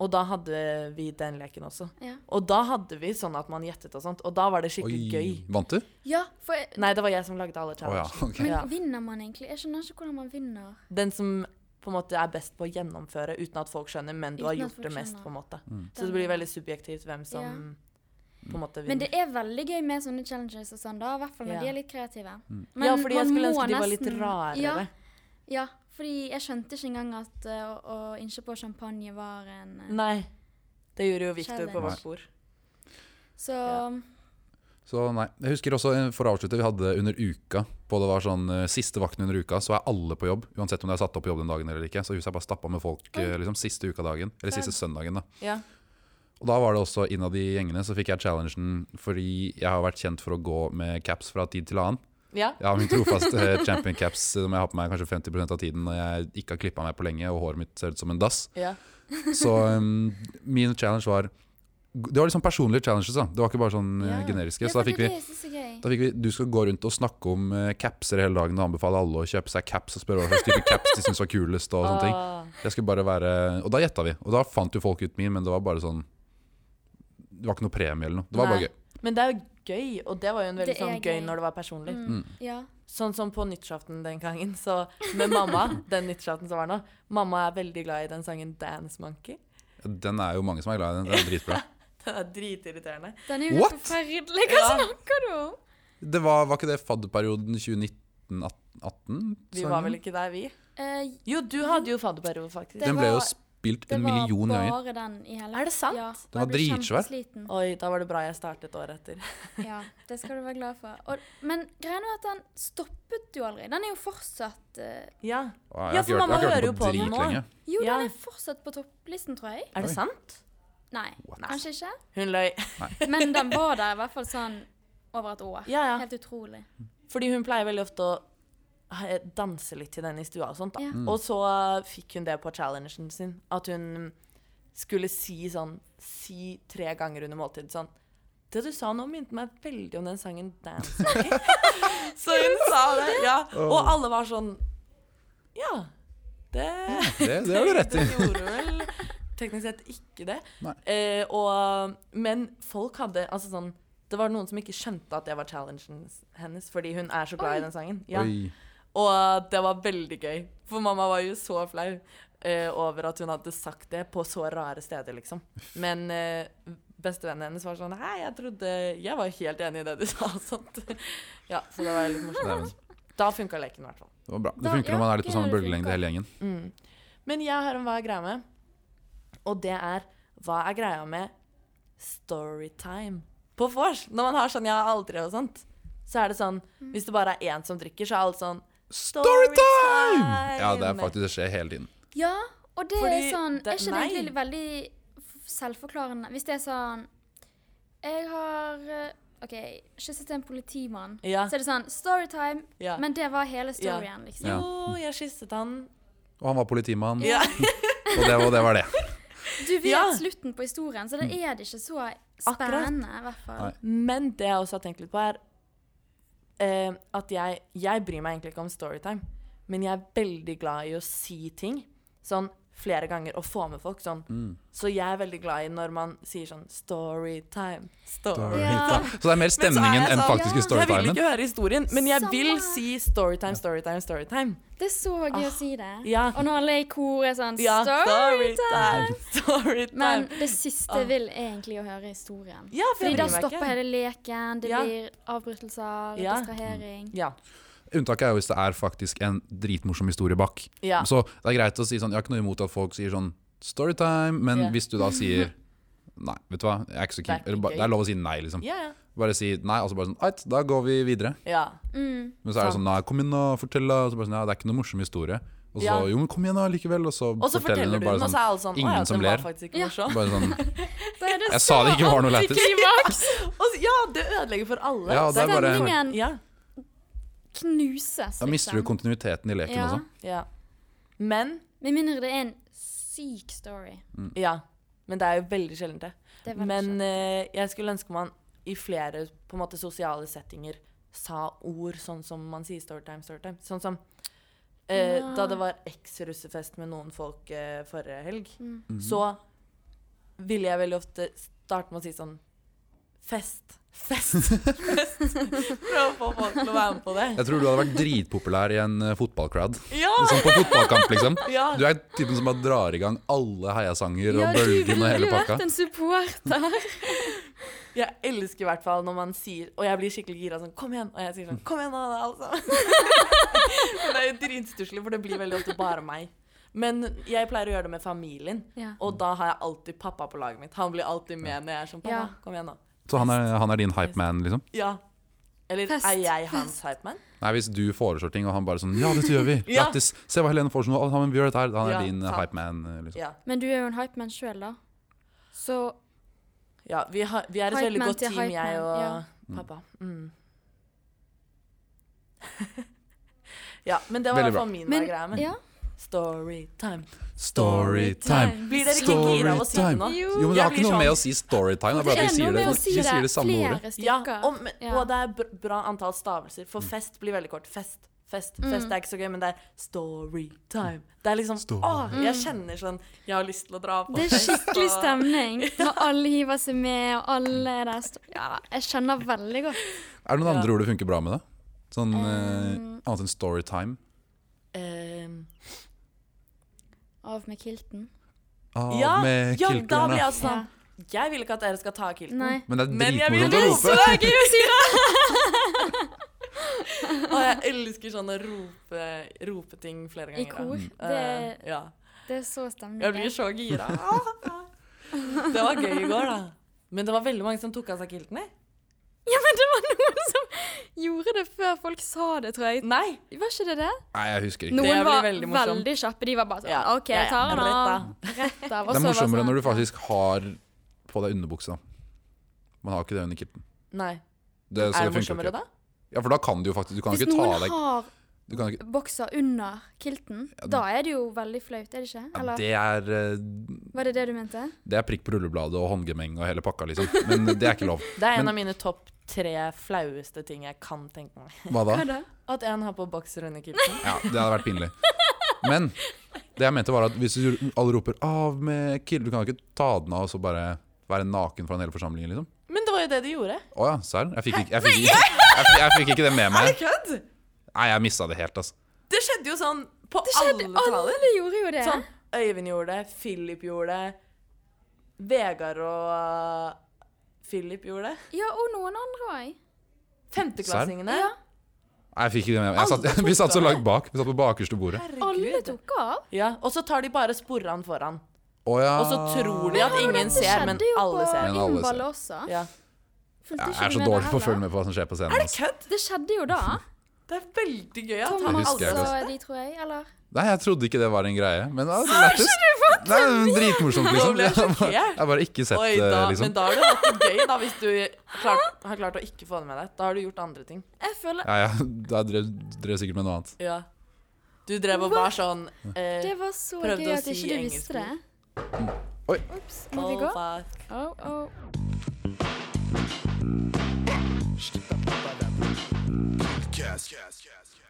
Speaker 2: Og da hadde vi den leken også.
Speaker 1: Ja.
Speaker 2: Og da hadde vi sånn at man gjettet og sånt. Og da var det skikkelig
Speaker 3: Oi.
Speaker 2: gøy.
Speaker 3: Vant du?
Speaker 1: ja, for jeg,
Speaker 2: Nei, det var jeg som lagde alle
Speaker 3: Å ja.
Speaker 2: challengene.
Speaker 3: ok.
Speaker 1: Men
Speaker 2: Ja.
Speaker 1: vinner man egentlig? Jeg skjønner ikke hvordan man vinner.
Speaker 2: den som på en måte er best på å gjennomføre uten at folk skjønner, men du
Speaker 1: Uten
Speaker 2: har
Speaker 1: at
Speaker 2: gjort
Speaker 1: folk
Speaker 2: det mest,
Speaker 1: skjønner.
Speaker 2: på en måte.
Speaker 3: Mm.
Speaker 2: Så det blir veldig subjektivt hvem som på en måte
Speaker 1: Men
Speaker 2: vinner.
Speaker 1: det er veldig gøy med sånne challenges og sånn, da. I hvert fall når
Speaker 2: Ja.
Speaker 1: de er litt kreative.
Speaker 3: Mm.
Speaker 2: ja, fordi jeg
Speaker 1: man
Speaker 2: skulle
Speaker 1: må
Speaker 2: ønske de var litt
Speaker 1: nesten-
Speaker 2: rarere.
Speaker 1: Ja, ja, fordi jeg skjønte ikke engang at eh, å, å innse på champagne var en eh,
Speaker 2: Nei. Det gjorde jo Victor
Speaker 1: Challenge.
Speaker 2: på vårt bord.
Speaker 1: Så
Speaker 3: Så nei. Jeg husker også, eh, for å avslutte, vi hadde under uka på det var sånn eh, Siste vakten under uka, så er alle på jobb. Uansett om de er satt opp på jobb den dagen eller ikke. Så huset er bare stappa med folk eh, liksom, siste ukadagen. Eller siste søndagen, da.
Speaker 2: Ja.
Speaker 3: Og da var det også innad i gjengene, så fikk jeg challengen fordi jeg har vært kjent for å gå med caps fra tid til annen.
Speaker 2: ja.
Speaker 3: Jeg har min trofaste eh, champion caps eh, som jeg har på meg kanskje 50 av tiden når jeg ikke har klippa meg på lenge og håret mitt ser ut som en dass.
Speaker 2: Ja.
Speaker 3: Så um, min challenge var Det var liksom personlige challenges, da. Det var ikke bare sånn eh,
Speaker 2: Ja.
Speaker 3: generiske.
Speaker 1: ja,
Speaker 3: Så da
Speaker 1: for
Speaker 3: fikk
Speaker 1: det
Speaker 3: vi
Speaker 1: er det som er så gøy.
Speaker 3: da fikk vi, Du skal gå rundt og snakke om eh, capser hele dagen og anbefale alle å kjøpe seg caps og spørre hva slags type caps de syns var kulest. Og sånne ting
Speaker 2: Ah.
Speaker 3: Jeg skulle bare være Og da gjetta vi. Og da fant jo folk ut min, men det var bare sånn Det var ikke noe premie eller noe. Det var
Speaker 2: Nei.
Speaker 3: bare gøy.
Speaker 2: Men det er jo gøy, og det var jo en veldig
Speaker 1: Det er
Speaker 2: sånn gøy
Speaker 1: gøy. Mm.
Speaker 2: når det var personlig.
Speaker 1: Ja.
Speaker 2: Sånn som på nyttårsaften den gangen, så med mamma, den nyttårsaften som var nå, mamma er veldig glad i den sangen Dance Monkey.
Speaker 3: Den er jo mange som er glad i den. Den er dritbra.
Speaker 2: Den er dritirriterende.
Speaker 1: Den er jo
Speaker 3: What?
Speaker 1: helt forferdelig. Hva
Speaker 2: Ja.
Speaker 1: snakker du om?
Speaker 3: Det var, var ikke det fadderperioden 2019-18?
Speaker 2: Vi var vel ikke der, vi?
Speaker 1: Eh,
Speaker 2: Jo, du hadde jo fadderperiode, faktisk.
Speaker 1: Det
Speaker 3: Den ble jo
Speaker 1: var-
Speaker 3: spilt
Speaker 1: det
Speaker 3: en
Speaker 1: var
Speaker 3: million
Speaker 1: bare
Speaker 3: ganger.
Speaker 1: den i hele
Speaker 2: Er det sant?
Speaker 1: Ja, og
Speaker 3: Den var
Speaker 1: jeg ble
Speaker 3: dritsvær.
Speaker 1: kjempesliten.
Speaker 2: Oi, da var det bra jeg startet året etter.
Speaker 1: Ja, det skal du være glad for. Og, men greia er at den stoppet jo aldri. Den er jo fortsatt eh,
Speaker 2: Ja,
Speaker 3: Å,
Speaker 2: Ja, for
Speaker 3: jeg har ikke hørt-
Speaker 2: mamma
Speaker 3: jeg
Speaker 2: hører
Speaker 3: har ikke
Speaker 2: jo
Speaker 3: hørt den på
Speaker 2: på den nå.
Speaker 3: dritlenge.
Speaker 1: Jo,
Speaker 2: Ja.
Speaker 1: den er fortsatt på topplisten, tror jeg.
Speaker 2: er det
Speaker 3: Oi.
Speaker 2: sant?
Speaker 1: Nei, kanskje ikke.
Speaker 2: Hun løy.
Speaker 1: Men den var der i hvert fall sånn over et år.
Speaker 2: Ja, ja.
Speaker 1: Helt utrolig.
Speaker 2: Fordi hun pleier veldig ofte å eh, danse litt til den i stua og sånt. Da.
Speaker 1: Ja. Mm.
Speaker 2: Og så eh, fikk hun det på challengen sin, at hun skulle si sånn Si tre ganger under måltid sånn Det du sa nå, minte meg veldig om den sangen Dance Monkey. så hun sa det, ja. Og alle var sånn Ja, det
Speaker 3: Det, det har du rett i.
Speaker 2: Den gjorde vel teknisk sett ikke det.
Speaker 3: Nei.
Speaker 2: Eh, og, men folk hadde altså sånn Det var noen som ikke skjønte at det var challengen hennes, fordi hun er så glad i den sangen. Ja.
Speaker 3: Oi.
Speaker 2: Og det var veldig gøy, for mamma var jo så flau eh, over at hun hadde sagt det på så rare steder, liksom. Men eh, bestevennen hennes var sånn Hei, jeg trodde Jeg var helt enig i det du sa, og sånt. ja, så det var litt morsomt.
Speaker 3: Dæven.
Speaker 2: Da funka leken i hvert fall.
Speaker 3: Det var bra. Det
Speaker 1: Da-
Speaker 3: funker
Speaker 1: ja,
Speaker 3: når man er litt på
Speaker 1: det
Speaker 3: samme
Speaker 1: funker.
Speaker 3: bølgelengde hele gjengen.
Speaker 2: Men jeg har en hva er greia med, og det er hva er greia med storytime på vors? Når man har sånn jeg har aldri og sånt, så er det sånn
Speaker 1: Mm.
Speaker 2: Hvis det bare er én som drikker, så er alle sånn
Speaker 3: Storytime!
Speaker 2: Storytime!
Speaker 3: Ja, det er faktisk det skjer hele tiden.
Speaker 1: Ja, og det er
Speaker 2: Fordi
Speaker 1: sånn
Speaker 2: det-
Speaker 1: Er ikke det
Speaker 2: nei.
Speaker 1: egentlig veldig f- selvforklarende? Hvis det er sånn Jeg har eh, OK, kysset en politimann.
Speaker 2: Ja.
Speaker 1: Så er det sånn Storytime.
Speaker 2: Ja.
Speaker 1: Men det var hele storyen, liksom.
Speaker 3: Ja.
Speaker 2: Jo, jeg kysset han.
Speaker 3: Og han var
Speaker 1: Mm.
Speaker 3: politimann,
Speaker 2: Ja.
Speaker 3: og det, og det var det.
Speaker 1: Du vet
Speaker 2: Ja. Mm.
Speaker 1: slutten på historien, så da er det ikke så spennende, i hvert fall.
Speaker 3: Nei.
Speaker 2: Men det jeg også har tenkt litt på, er eh, at jeg, jeg bryr meg egentlig ikke om storytime, men jeg er veldig glad i å si ting sånn flere ganger og få med folk sånn. Så jeg er veldig glad i når man sier sånn storytime, story.
Speaker 1: Ja.
Speaker 3: Så det er mer
Speaker 2: Men så er
Speaker 3: stemningen
Speaker 2: jeg
Speaker 3: enn
Speaker 2: sånn,
Speaker 3: faktisk
Speaker 1: ja.
Speaker 3: i
Speaker 2: Jeg vil
Speaker 3: storytimen.
Speaker 2: ikke høre historien, men jeg vil
Speaker 1: Samme.
Speaker 2: si storytime, storytime, storytime.
Speaker 1: Det er så gøy å si det.
Speaker 2: Ah. Ja.
Speaker 1: Og når alle i kor er sånn
Speaker 2: Ja,
Speaker 1: Storytime!
Speaker 2: storytime, storytime.
Speaker 1: Men det siste
Speaker 2: Ah.
Speaker 1: vil egentlig å høre historien.
Speaker 2: Ja, for jeg
Speaker 1: Fordi da
Speaker 2: bryr meg
Speaker 1: stopper
Speaker 2: ikke.
Speaker 1: hele leken, det
Speaker 2: Ja.
Speaker 1: blir avbrytelser,
Speaker 2: Ja.
Speaker 1: distrahering.
Speaker 2: Ja.
Speaker 3: Unntaket er jo hvis det er faktisk en dritmorsom historie bak.
Speaker 2: Ja.
Speaker 3: Så det er greit å si sånn Jeg har ikke noe imot at folk sier sånn storytime, men
Speaker 2: Ja.
Speaker 3: hvis du da sier Nei, vet du hva, jeg er ikke så
Speaker 2: Det er
Speaker 3: keen.
Speaker 2: ikke
Speaker 3: Eller ba-
Speaker 2: gøy.
Speaker 3: Det er lov å si nei, liksom.
Speaker 2: Ja, ja.
Speaker 3: Bare si nei, og så bare sånn Ait, da går vi videre.
Speaker 2: ja.
Speaker 3: Men så er det sånn Nei, kom igjen, da, fortell, da. Og så bare sånn Ja, det er ikke noe morsom historie. Og så
Speaker 2: Ja.
Speaker 3: Jo, men kom igjen, da, likevel. Og så,
Speaker 2: Og så forteller du
Speaker 3: bare
Speaker 2: den, og så er alle sånn Å ja,
Speaker 3: Ingen som
Speaker 2: den var
Speaker 3: ler.
Speaker 2: faktisk ikke morsom.
Speaker 3: Bare sånn
Speaker 1: Da er det
Speaker 3: Jeg sa det ikke var noe lættis.
Speaker 1: antiklimaks!
Speaker 2: Og så- Ja, det ødelegger for alle.
Speaker 3: Ja, det er bare
Speaker 1: Stemningen
Speaker 2: ja,
Speaker 1: knuses,
Speaker 3: Da mister du
Speaker 1: liksom.
Speaker 3: kontinuiteten i leken
Speaker 1: Ja.
Speaker 3: også.
Speaker 2: ja. Men
Speaker 1: Med mindre det er en syk story.
Speaker 2: Ja. Men det er jo veldig sjelden det.
Speaker 1: Det er veldig
Speaker 2: Men
Speaker 1: sjelden.
Speaker 2: eh, jeg skulle ønske man i flere på en måte, sosiale settinger sa ord sånn som man sier storytime, storytime. Sånn som eh,
Speaker 1: Ja.
Speaker 2: da det var eks-russefest med noen folk eh, forrige helg,
Speaker 1: Mm.
Speaker 3: Mhm.
Speaker 2: så ville jeg veldig ofte starte med å si sånn Fest. Fest. Fest. Prøve å få folk til å være med på det.
Speaker 3: Jeg tror du hadde vært dritpopulær i en eh, fotballcrowd.
Speaker 2: Ja!
Speaker 3: Sånn på fotballkamp, liksom.
Speaker 2: Ja.
Speaker 3: Du er typen som bare drar i gang alle heiasanger og
Speaker 1: Ja, du
Speaker 3: bølgen og
Speaker 1: ville
Speaker 3: hele
Speaker 1: jo vært
Speaker 3: pakka.
Speaker 1: en supporter.
Speaker 2: Jeg elsker i hvert fall når man sier Og jeg blir skikkelig gira sånn Kom igjen! Og jeg sier sånn Kom igjen, da, alle sammen! Men det er jo dritstusslig, for det blir veldig ofte bare meg. Men jeg pleier å gjøre det med familien,
Speaker 1: Ja.
Speaker 2: og da har jeg alltid pappa på laget mitt. Han blir alltid med når jeg er sånn Pappa,
Speaker 1: Ja.
Speaker 2: kom igjen, da.
Speaker 3: Så han er, han er din hypeman, liksom?
Speaker 2: Ja. Eller
Speaker 1: Fest,
Speaker 2: er jeg hans hype man?
Speaker 3: Nei, hvis du foreslår ting, og han bare sånn Ja, dette gjør vi!
Speaker 2: Ja.
Speaker 3: Lættis! Se hva Helene foreslo! Ah, men vi gjør dette her! Han er
Speaker 2: Ja,
Speaker 3: din
Speaker 2: sant.
Speaker 3: hypeman, liksom.
Speaker 2: Ja.
Speaker 1: Men du er jo en hypeman sjøl, da. Så
Speaker 2: ja vi, har, vi er et
Speaker 1: Hype
Speaker 2: veldig
Speaker 1: man
Speaker 2: godt
Speaker 1: til
Speaker 2: team,
Speaker 1: hype
Speaker 2: jeg
Speaker 1: man,
Speaker 2: og
Speaker 1: ja.
Speaker 2: pappa. Mm. ja, men det var i hvert
Speaker 3: Veldig bra.
Speaker 2: fall min
Speaker 1: Men
Speaker 2: greie med
Speaker 1: ja.
Speaker 2: Storytime.
Speaker 3: Storytime!
Speaker 2: Blir dere ikke gira av å si det
Speaker 1: Storytime.
Speaker 2: nå?
Speaker 3: Jo, men det
Speaker 2: Jeg
Speaker 3: har ikke
Speaker 2: blir
Speaker 3: noe med
Speaker 2: sånn-
Speaker 3: å si storytime. Det er bare at vi sier det,
Speaker 1: med å
Speaker 3: vi sier det samme
Speaker 1: flere
Speaker 3: ordet.
Speaker 1: stykker.
Speaker 2: Ja, og, men,
Speaker 1: Ja.
Speaker 2: og det er br- bra antall stavelser,
Speaker 3: Mm.
Speaker 2: for fest blir veldig kort. Fest, fest,
Speaker 1: Mm.
Speaker 2: fest. Det er ikke så gøy, men det er storytime. Det er liksom
Speaker 3: Story.
Speaker 2: Åh, jeg kjenner sånn Jeg har lyst til å dra på
Speaker 1: Mm. Det er
Speaker 2: fest.
Speaker 1: skikkelig
Speaker 2: og-
Speaker 1: stemning. Når alle hiver seg med, og alle er der. st- Ja, jeg skjønner veldig godt.
Speaker 3: Er det noen
Speaker 2: Ja.
Speaker 3: andre ord det funker bra med, da? Sånn eh,
Speaker 1: um,
Speaker 3: annet enn storytime?
Speaker 2: Ehm,
Speaker 1: Av med kilten.
Speaker 3: Av
Speaker 2: ja,
Speaker 3: Ah, med
Speaker 2: ja, da
Speaker 3: kilterne.
Speaker 2: blir jeg sånn Jeg vil ikke at dere skal ta kilten.
Speaker 1: Nei.
Speaker 3: Men det er
Speaker 2: Men jeg vil-
Speaker 3: dritmorsomt å
Speaker 2: Det er
Speaker 3: rope!
Speaker 1: gøy å si det!
Speaker 2: Og jeg elsker sånn å rope, rope ting flere ganger.
Speaker 1: I kor.
Speaker 3: Mm.
Speaker 2: da.
Speaker 1: Det,
Speaker 2: Eh, ja.
Speaker 1: det er så stemning.
Speaker 2: Jeg blir så gira. Det var gøy i går, da. Men det var veldig mange som tok av seg kilten. jeg.
Speaker 1: Ja, men det var noen som gjorde det før folk sa det, tror jeg.
Speaker 2: Nei!
Speaker 1: Var ikke det det?
Speaker 3: Nei, jeg husker ikke.
Speaker 2: blir
Speaker 1: Noen var
Speaker 2: veldig
Speaker 1: veldig,
Speaker 2: morsomt.
Speaker 1: kjappe. De var bare sånn
Speaker 2: Ja,
Speaker 1: OK,
Speaker 2: ja,
Speaker 1: jeg
Speaker 2: ja.
Speaker 1: tar den av.
Speaker 2: Rett
Speaker 1: Rett av.
Speaker 3: Det er
Speaker 1: sånn.
Speaker 3: morsommere
Speaker 2: sånn,
Speaker 3: når du faktisk har på deg underbukse. da. Man har ikke det under kilten.
Speaker 2: Nei.
Speaker 3: Det, så
Speaker 2: Er det
Speaker 3: det funker jo
Speaker 2: morsommere
Speaker 3: ikke.
Speaker 2: da?
Speaker 3: Ja, for da kan du jo faktisk Du kan jo
Speaker 1: Hvis
Speaker 3: ikke ta av
Speaker 1: noen
Speaker 3: deg
Speaker 1: har
Speaker 3: du kan jo ikke,
Speaker 1: bokser under kilten, da er det jo veldig flaut, er det ikke?
Speaker 3: ja,
Speaker 1: Eller
Speaker 3: det, er, eh,
Speaker 1: var det det du mente?
Speaker 3: det er prikk på rullebladet og håndgemeng og hele pakka, liksom. Men det er ikke lov.
Speaker 2: Det er en
Speaker 3: Men-
Speaker 2: av mine topp tre flaueste ting jeg kan tenke meg.
Speaker 3: Hva da?
Speaker 1: Hva da?
Speaker 2: At en har på bokser under kilten.
Speaker 3: Ja, det hadde vært pinlig. Men det jeg mente var at hvis du, alle roper 'av med kill', du kan jo ikke ta den av og så bare være naken foran hele forsamlingen, liksom.
Speaker 2: Men det var jo det de gjorde.
Speaker 3: Å ja, serr? Jeg fikk ikke, jeg fikk ikke, jeg fikk, jeg fikk ikke det med meg.
Speaker 2: Kødd!
Speaker 3: Nei, jeg mista det helt, altså.
Speaker 2: Det skjedde jo sånn på
Speaker 1: Det skjedde,
Speaker 2: alle taler.
Speaker 1: alle gjorde jo det.
Speaker 2: Sånn, Øyvind gjorde det, Philip gjorde det, Vegard og uh, Philip gjorde det.
Speaker 1: Ja, og noen andre òg.
Speaker 2: Femteklassingene.
Speaker 1: Ja.
Speaker 3: Nei, Jeg fikk ikke det med meg. Jeg satt, vi satt så langt bak. Vi satt på bakerste bordet.
Speaker 1: Alle tok av.
Speaker 2: Ja, og så tar de bare sporene foran.
Speaker 3: Å ja.
Speaker 2: Og så tror de at ingen
Speaker 1: Det
Speaker 2: ser, men
Speaker 1: skjedde jo
Speaker 2: alle ser.
Speaker 1: på
Speaker 3: Men alle
Speaker 1: innballet også.
Speaker 2: Ja.
Speaker 1: Fulgte
Speaker 3: Jeg
Speaker 1: ikke
Speaker 3: er
Speaker 1: du
Speaker 3: så
Speaker 1: med
Speaker 3: dårlig
Speaker 1: der
Speaker 3: på å følge
Speaker 1: heller?
Speaker 3: med på hva som skjer på scenen. Altså.
Speaker 1: Det skjedde jo da.
Speaker 2: Det er veldig gøy at han
Speaker 1: Thomas
Speaker 3: husker jeg
Speaker 2: alle
Speaker 1: og
Speaker 3: godt.
Speaker 1: de, tror jeg. Eller
Speaker 3: Nei, jeg trodde ikke det var en greie. Men det var lættis. Nei, men Dritmorsomt,
Speaker 2: Nå
Speaker 3: liksom.
Speaker 2: ble jeg
Speaker 3: Jeg bare-
Speaker 2: sjokkert.
Speaker 3: jeg bare ikke sett
Speaker 2: Oi,
Speaker 3: det,
Speaker 2: da, Men
Speaker 3: liksom.
Speaker 2: da er det alltid gøy, da, hvis du klart, har klart å ikke få det med deg. Da har du gjort andre ting.
Speaker 1: jeg føler
Speaker 3: Ja, ja. Da drev, drev sikkert med noe annet.
Speaker 2: Ja. Du drev og var sånn eh,
Speaker 1: Det var så
Speaker 2: Prøvde
Speaker 1: gøy
Speaker 2: å
Speaker 1: at
Speaker 2: si
Speaker 1: ikke du
Speaker 2: engelsk
Speaker 1: visste det.
Speaker 3: Oi. Altså,
Speaker 1: Ops, må vi gå?
Speaker 2: oh, fuck.
Speaker 1: Oh, oh.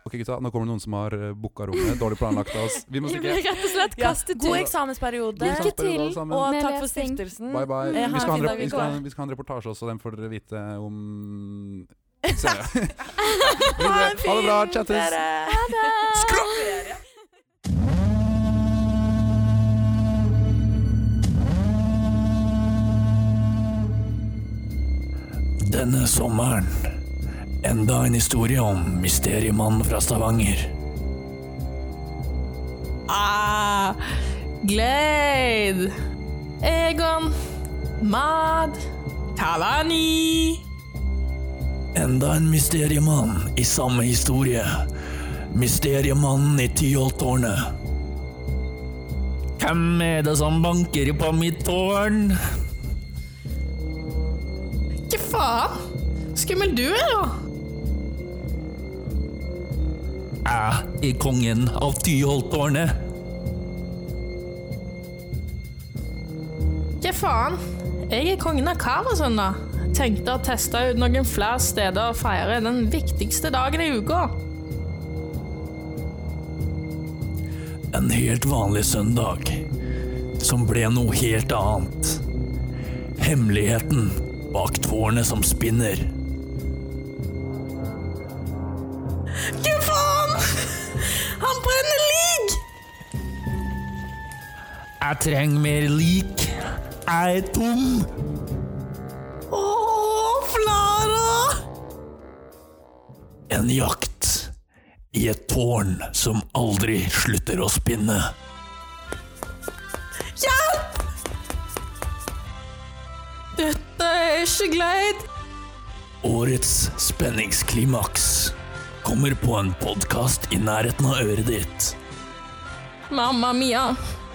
Speaker 3: Ok, gutta, nå kommer det noen som har eh, booka rommet. Dårlig planlagt av oss. Vi må
Speaker 1: Jeg ble
Speaker 3: stikke.
Speaker 1: rett og slett
Speaker 2: Ja,
Speaker 1: kastet
Speaker 2: god
Speaker 1: ut.
Speaker 2: eksamensperiode.
Speaker 1: Lykke til.
Speaker 3: Alle sammen.
Speaker 2: Og
Speaker 1: Med
Speaker 2: takk for
Speaker 1: lesing.
Speaker 2: stiftelsen.
Speaker 3: Bye, bye.
Speaker 2: Eh, ha
Speaker 3: Vi
Speaker 2: en
Speaker 3: skal, ha
Speaker 2: fin
Speaker 3: en,
Speaker 2: dag
Speaker 3: rep- vi, skal,
Speaker 2: videre.
Speaker 3: ha en- vi skal ha en reportasje også, den får dere vite om senere. ha det bra, chattes!
Speaker 2: Dere.
Speaker 4: Denne sommeren. Enda en historie om mysteriemannen fra Stavanger.
Speaker 5: Ah, Glade, Egon, Mad, Talani.
Speaker 4: Enda en mysteriemann i samme historie. Mysteriemannen i Tyholttårnet. Hvem er det som banker på mitt tårn?
Speaker 5: Hva faen? Skummel du er, da.
Speaker 4: Jeg er kongen av Tyholttårnet.
Speaker 5: Hva faen? Jeg er kongen av Karasund, da. Tenkte å teste ut noen flere steder å feire den viktigste dagen i uka.
Speaker 4: En helt vanlig søndag, som ble noe helt annet. Hemmeligheten bak tårnet som spinner.
Speaker 5: Hva faen? Han brenner lik!
Speaker 4: Jeg trenger mer lik. Jeg er tom.
Speaker 5: Å, Flara!
Speaker 4: En jakt i et tårn som aldri slutter å spinne.
Speaker 5: Hjelp! Dette er ikke greit.
Speaker 4: Årets spenningsklimaks kommer på en podkast i nærheten av øret ditt.
Speaker 5: Mamma mia.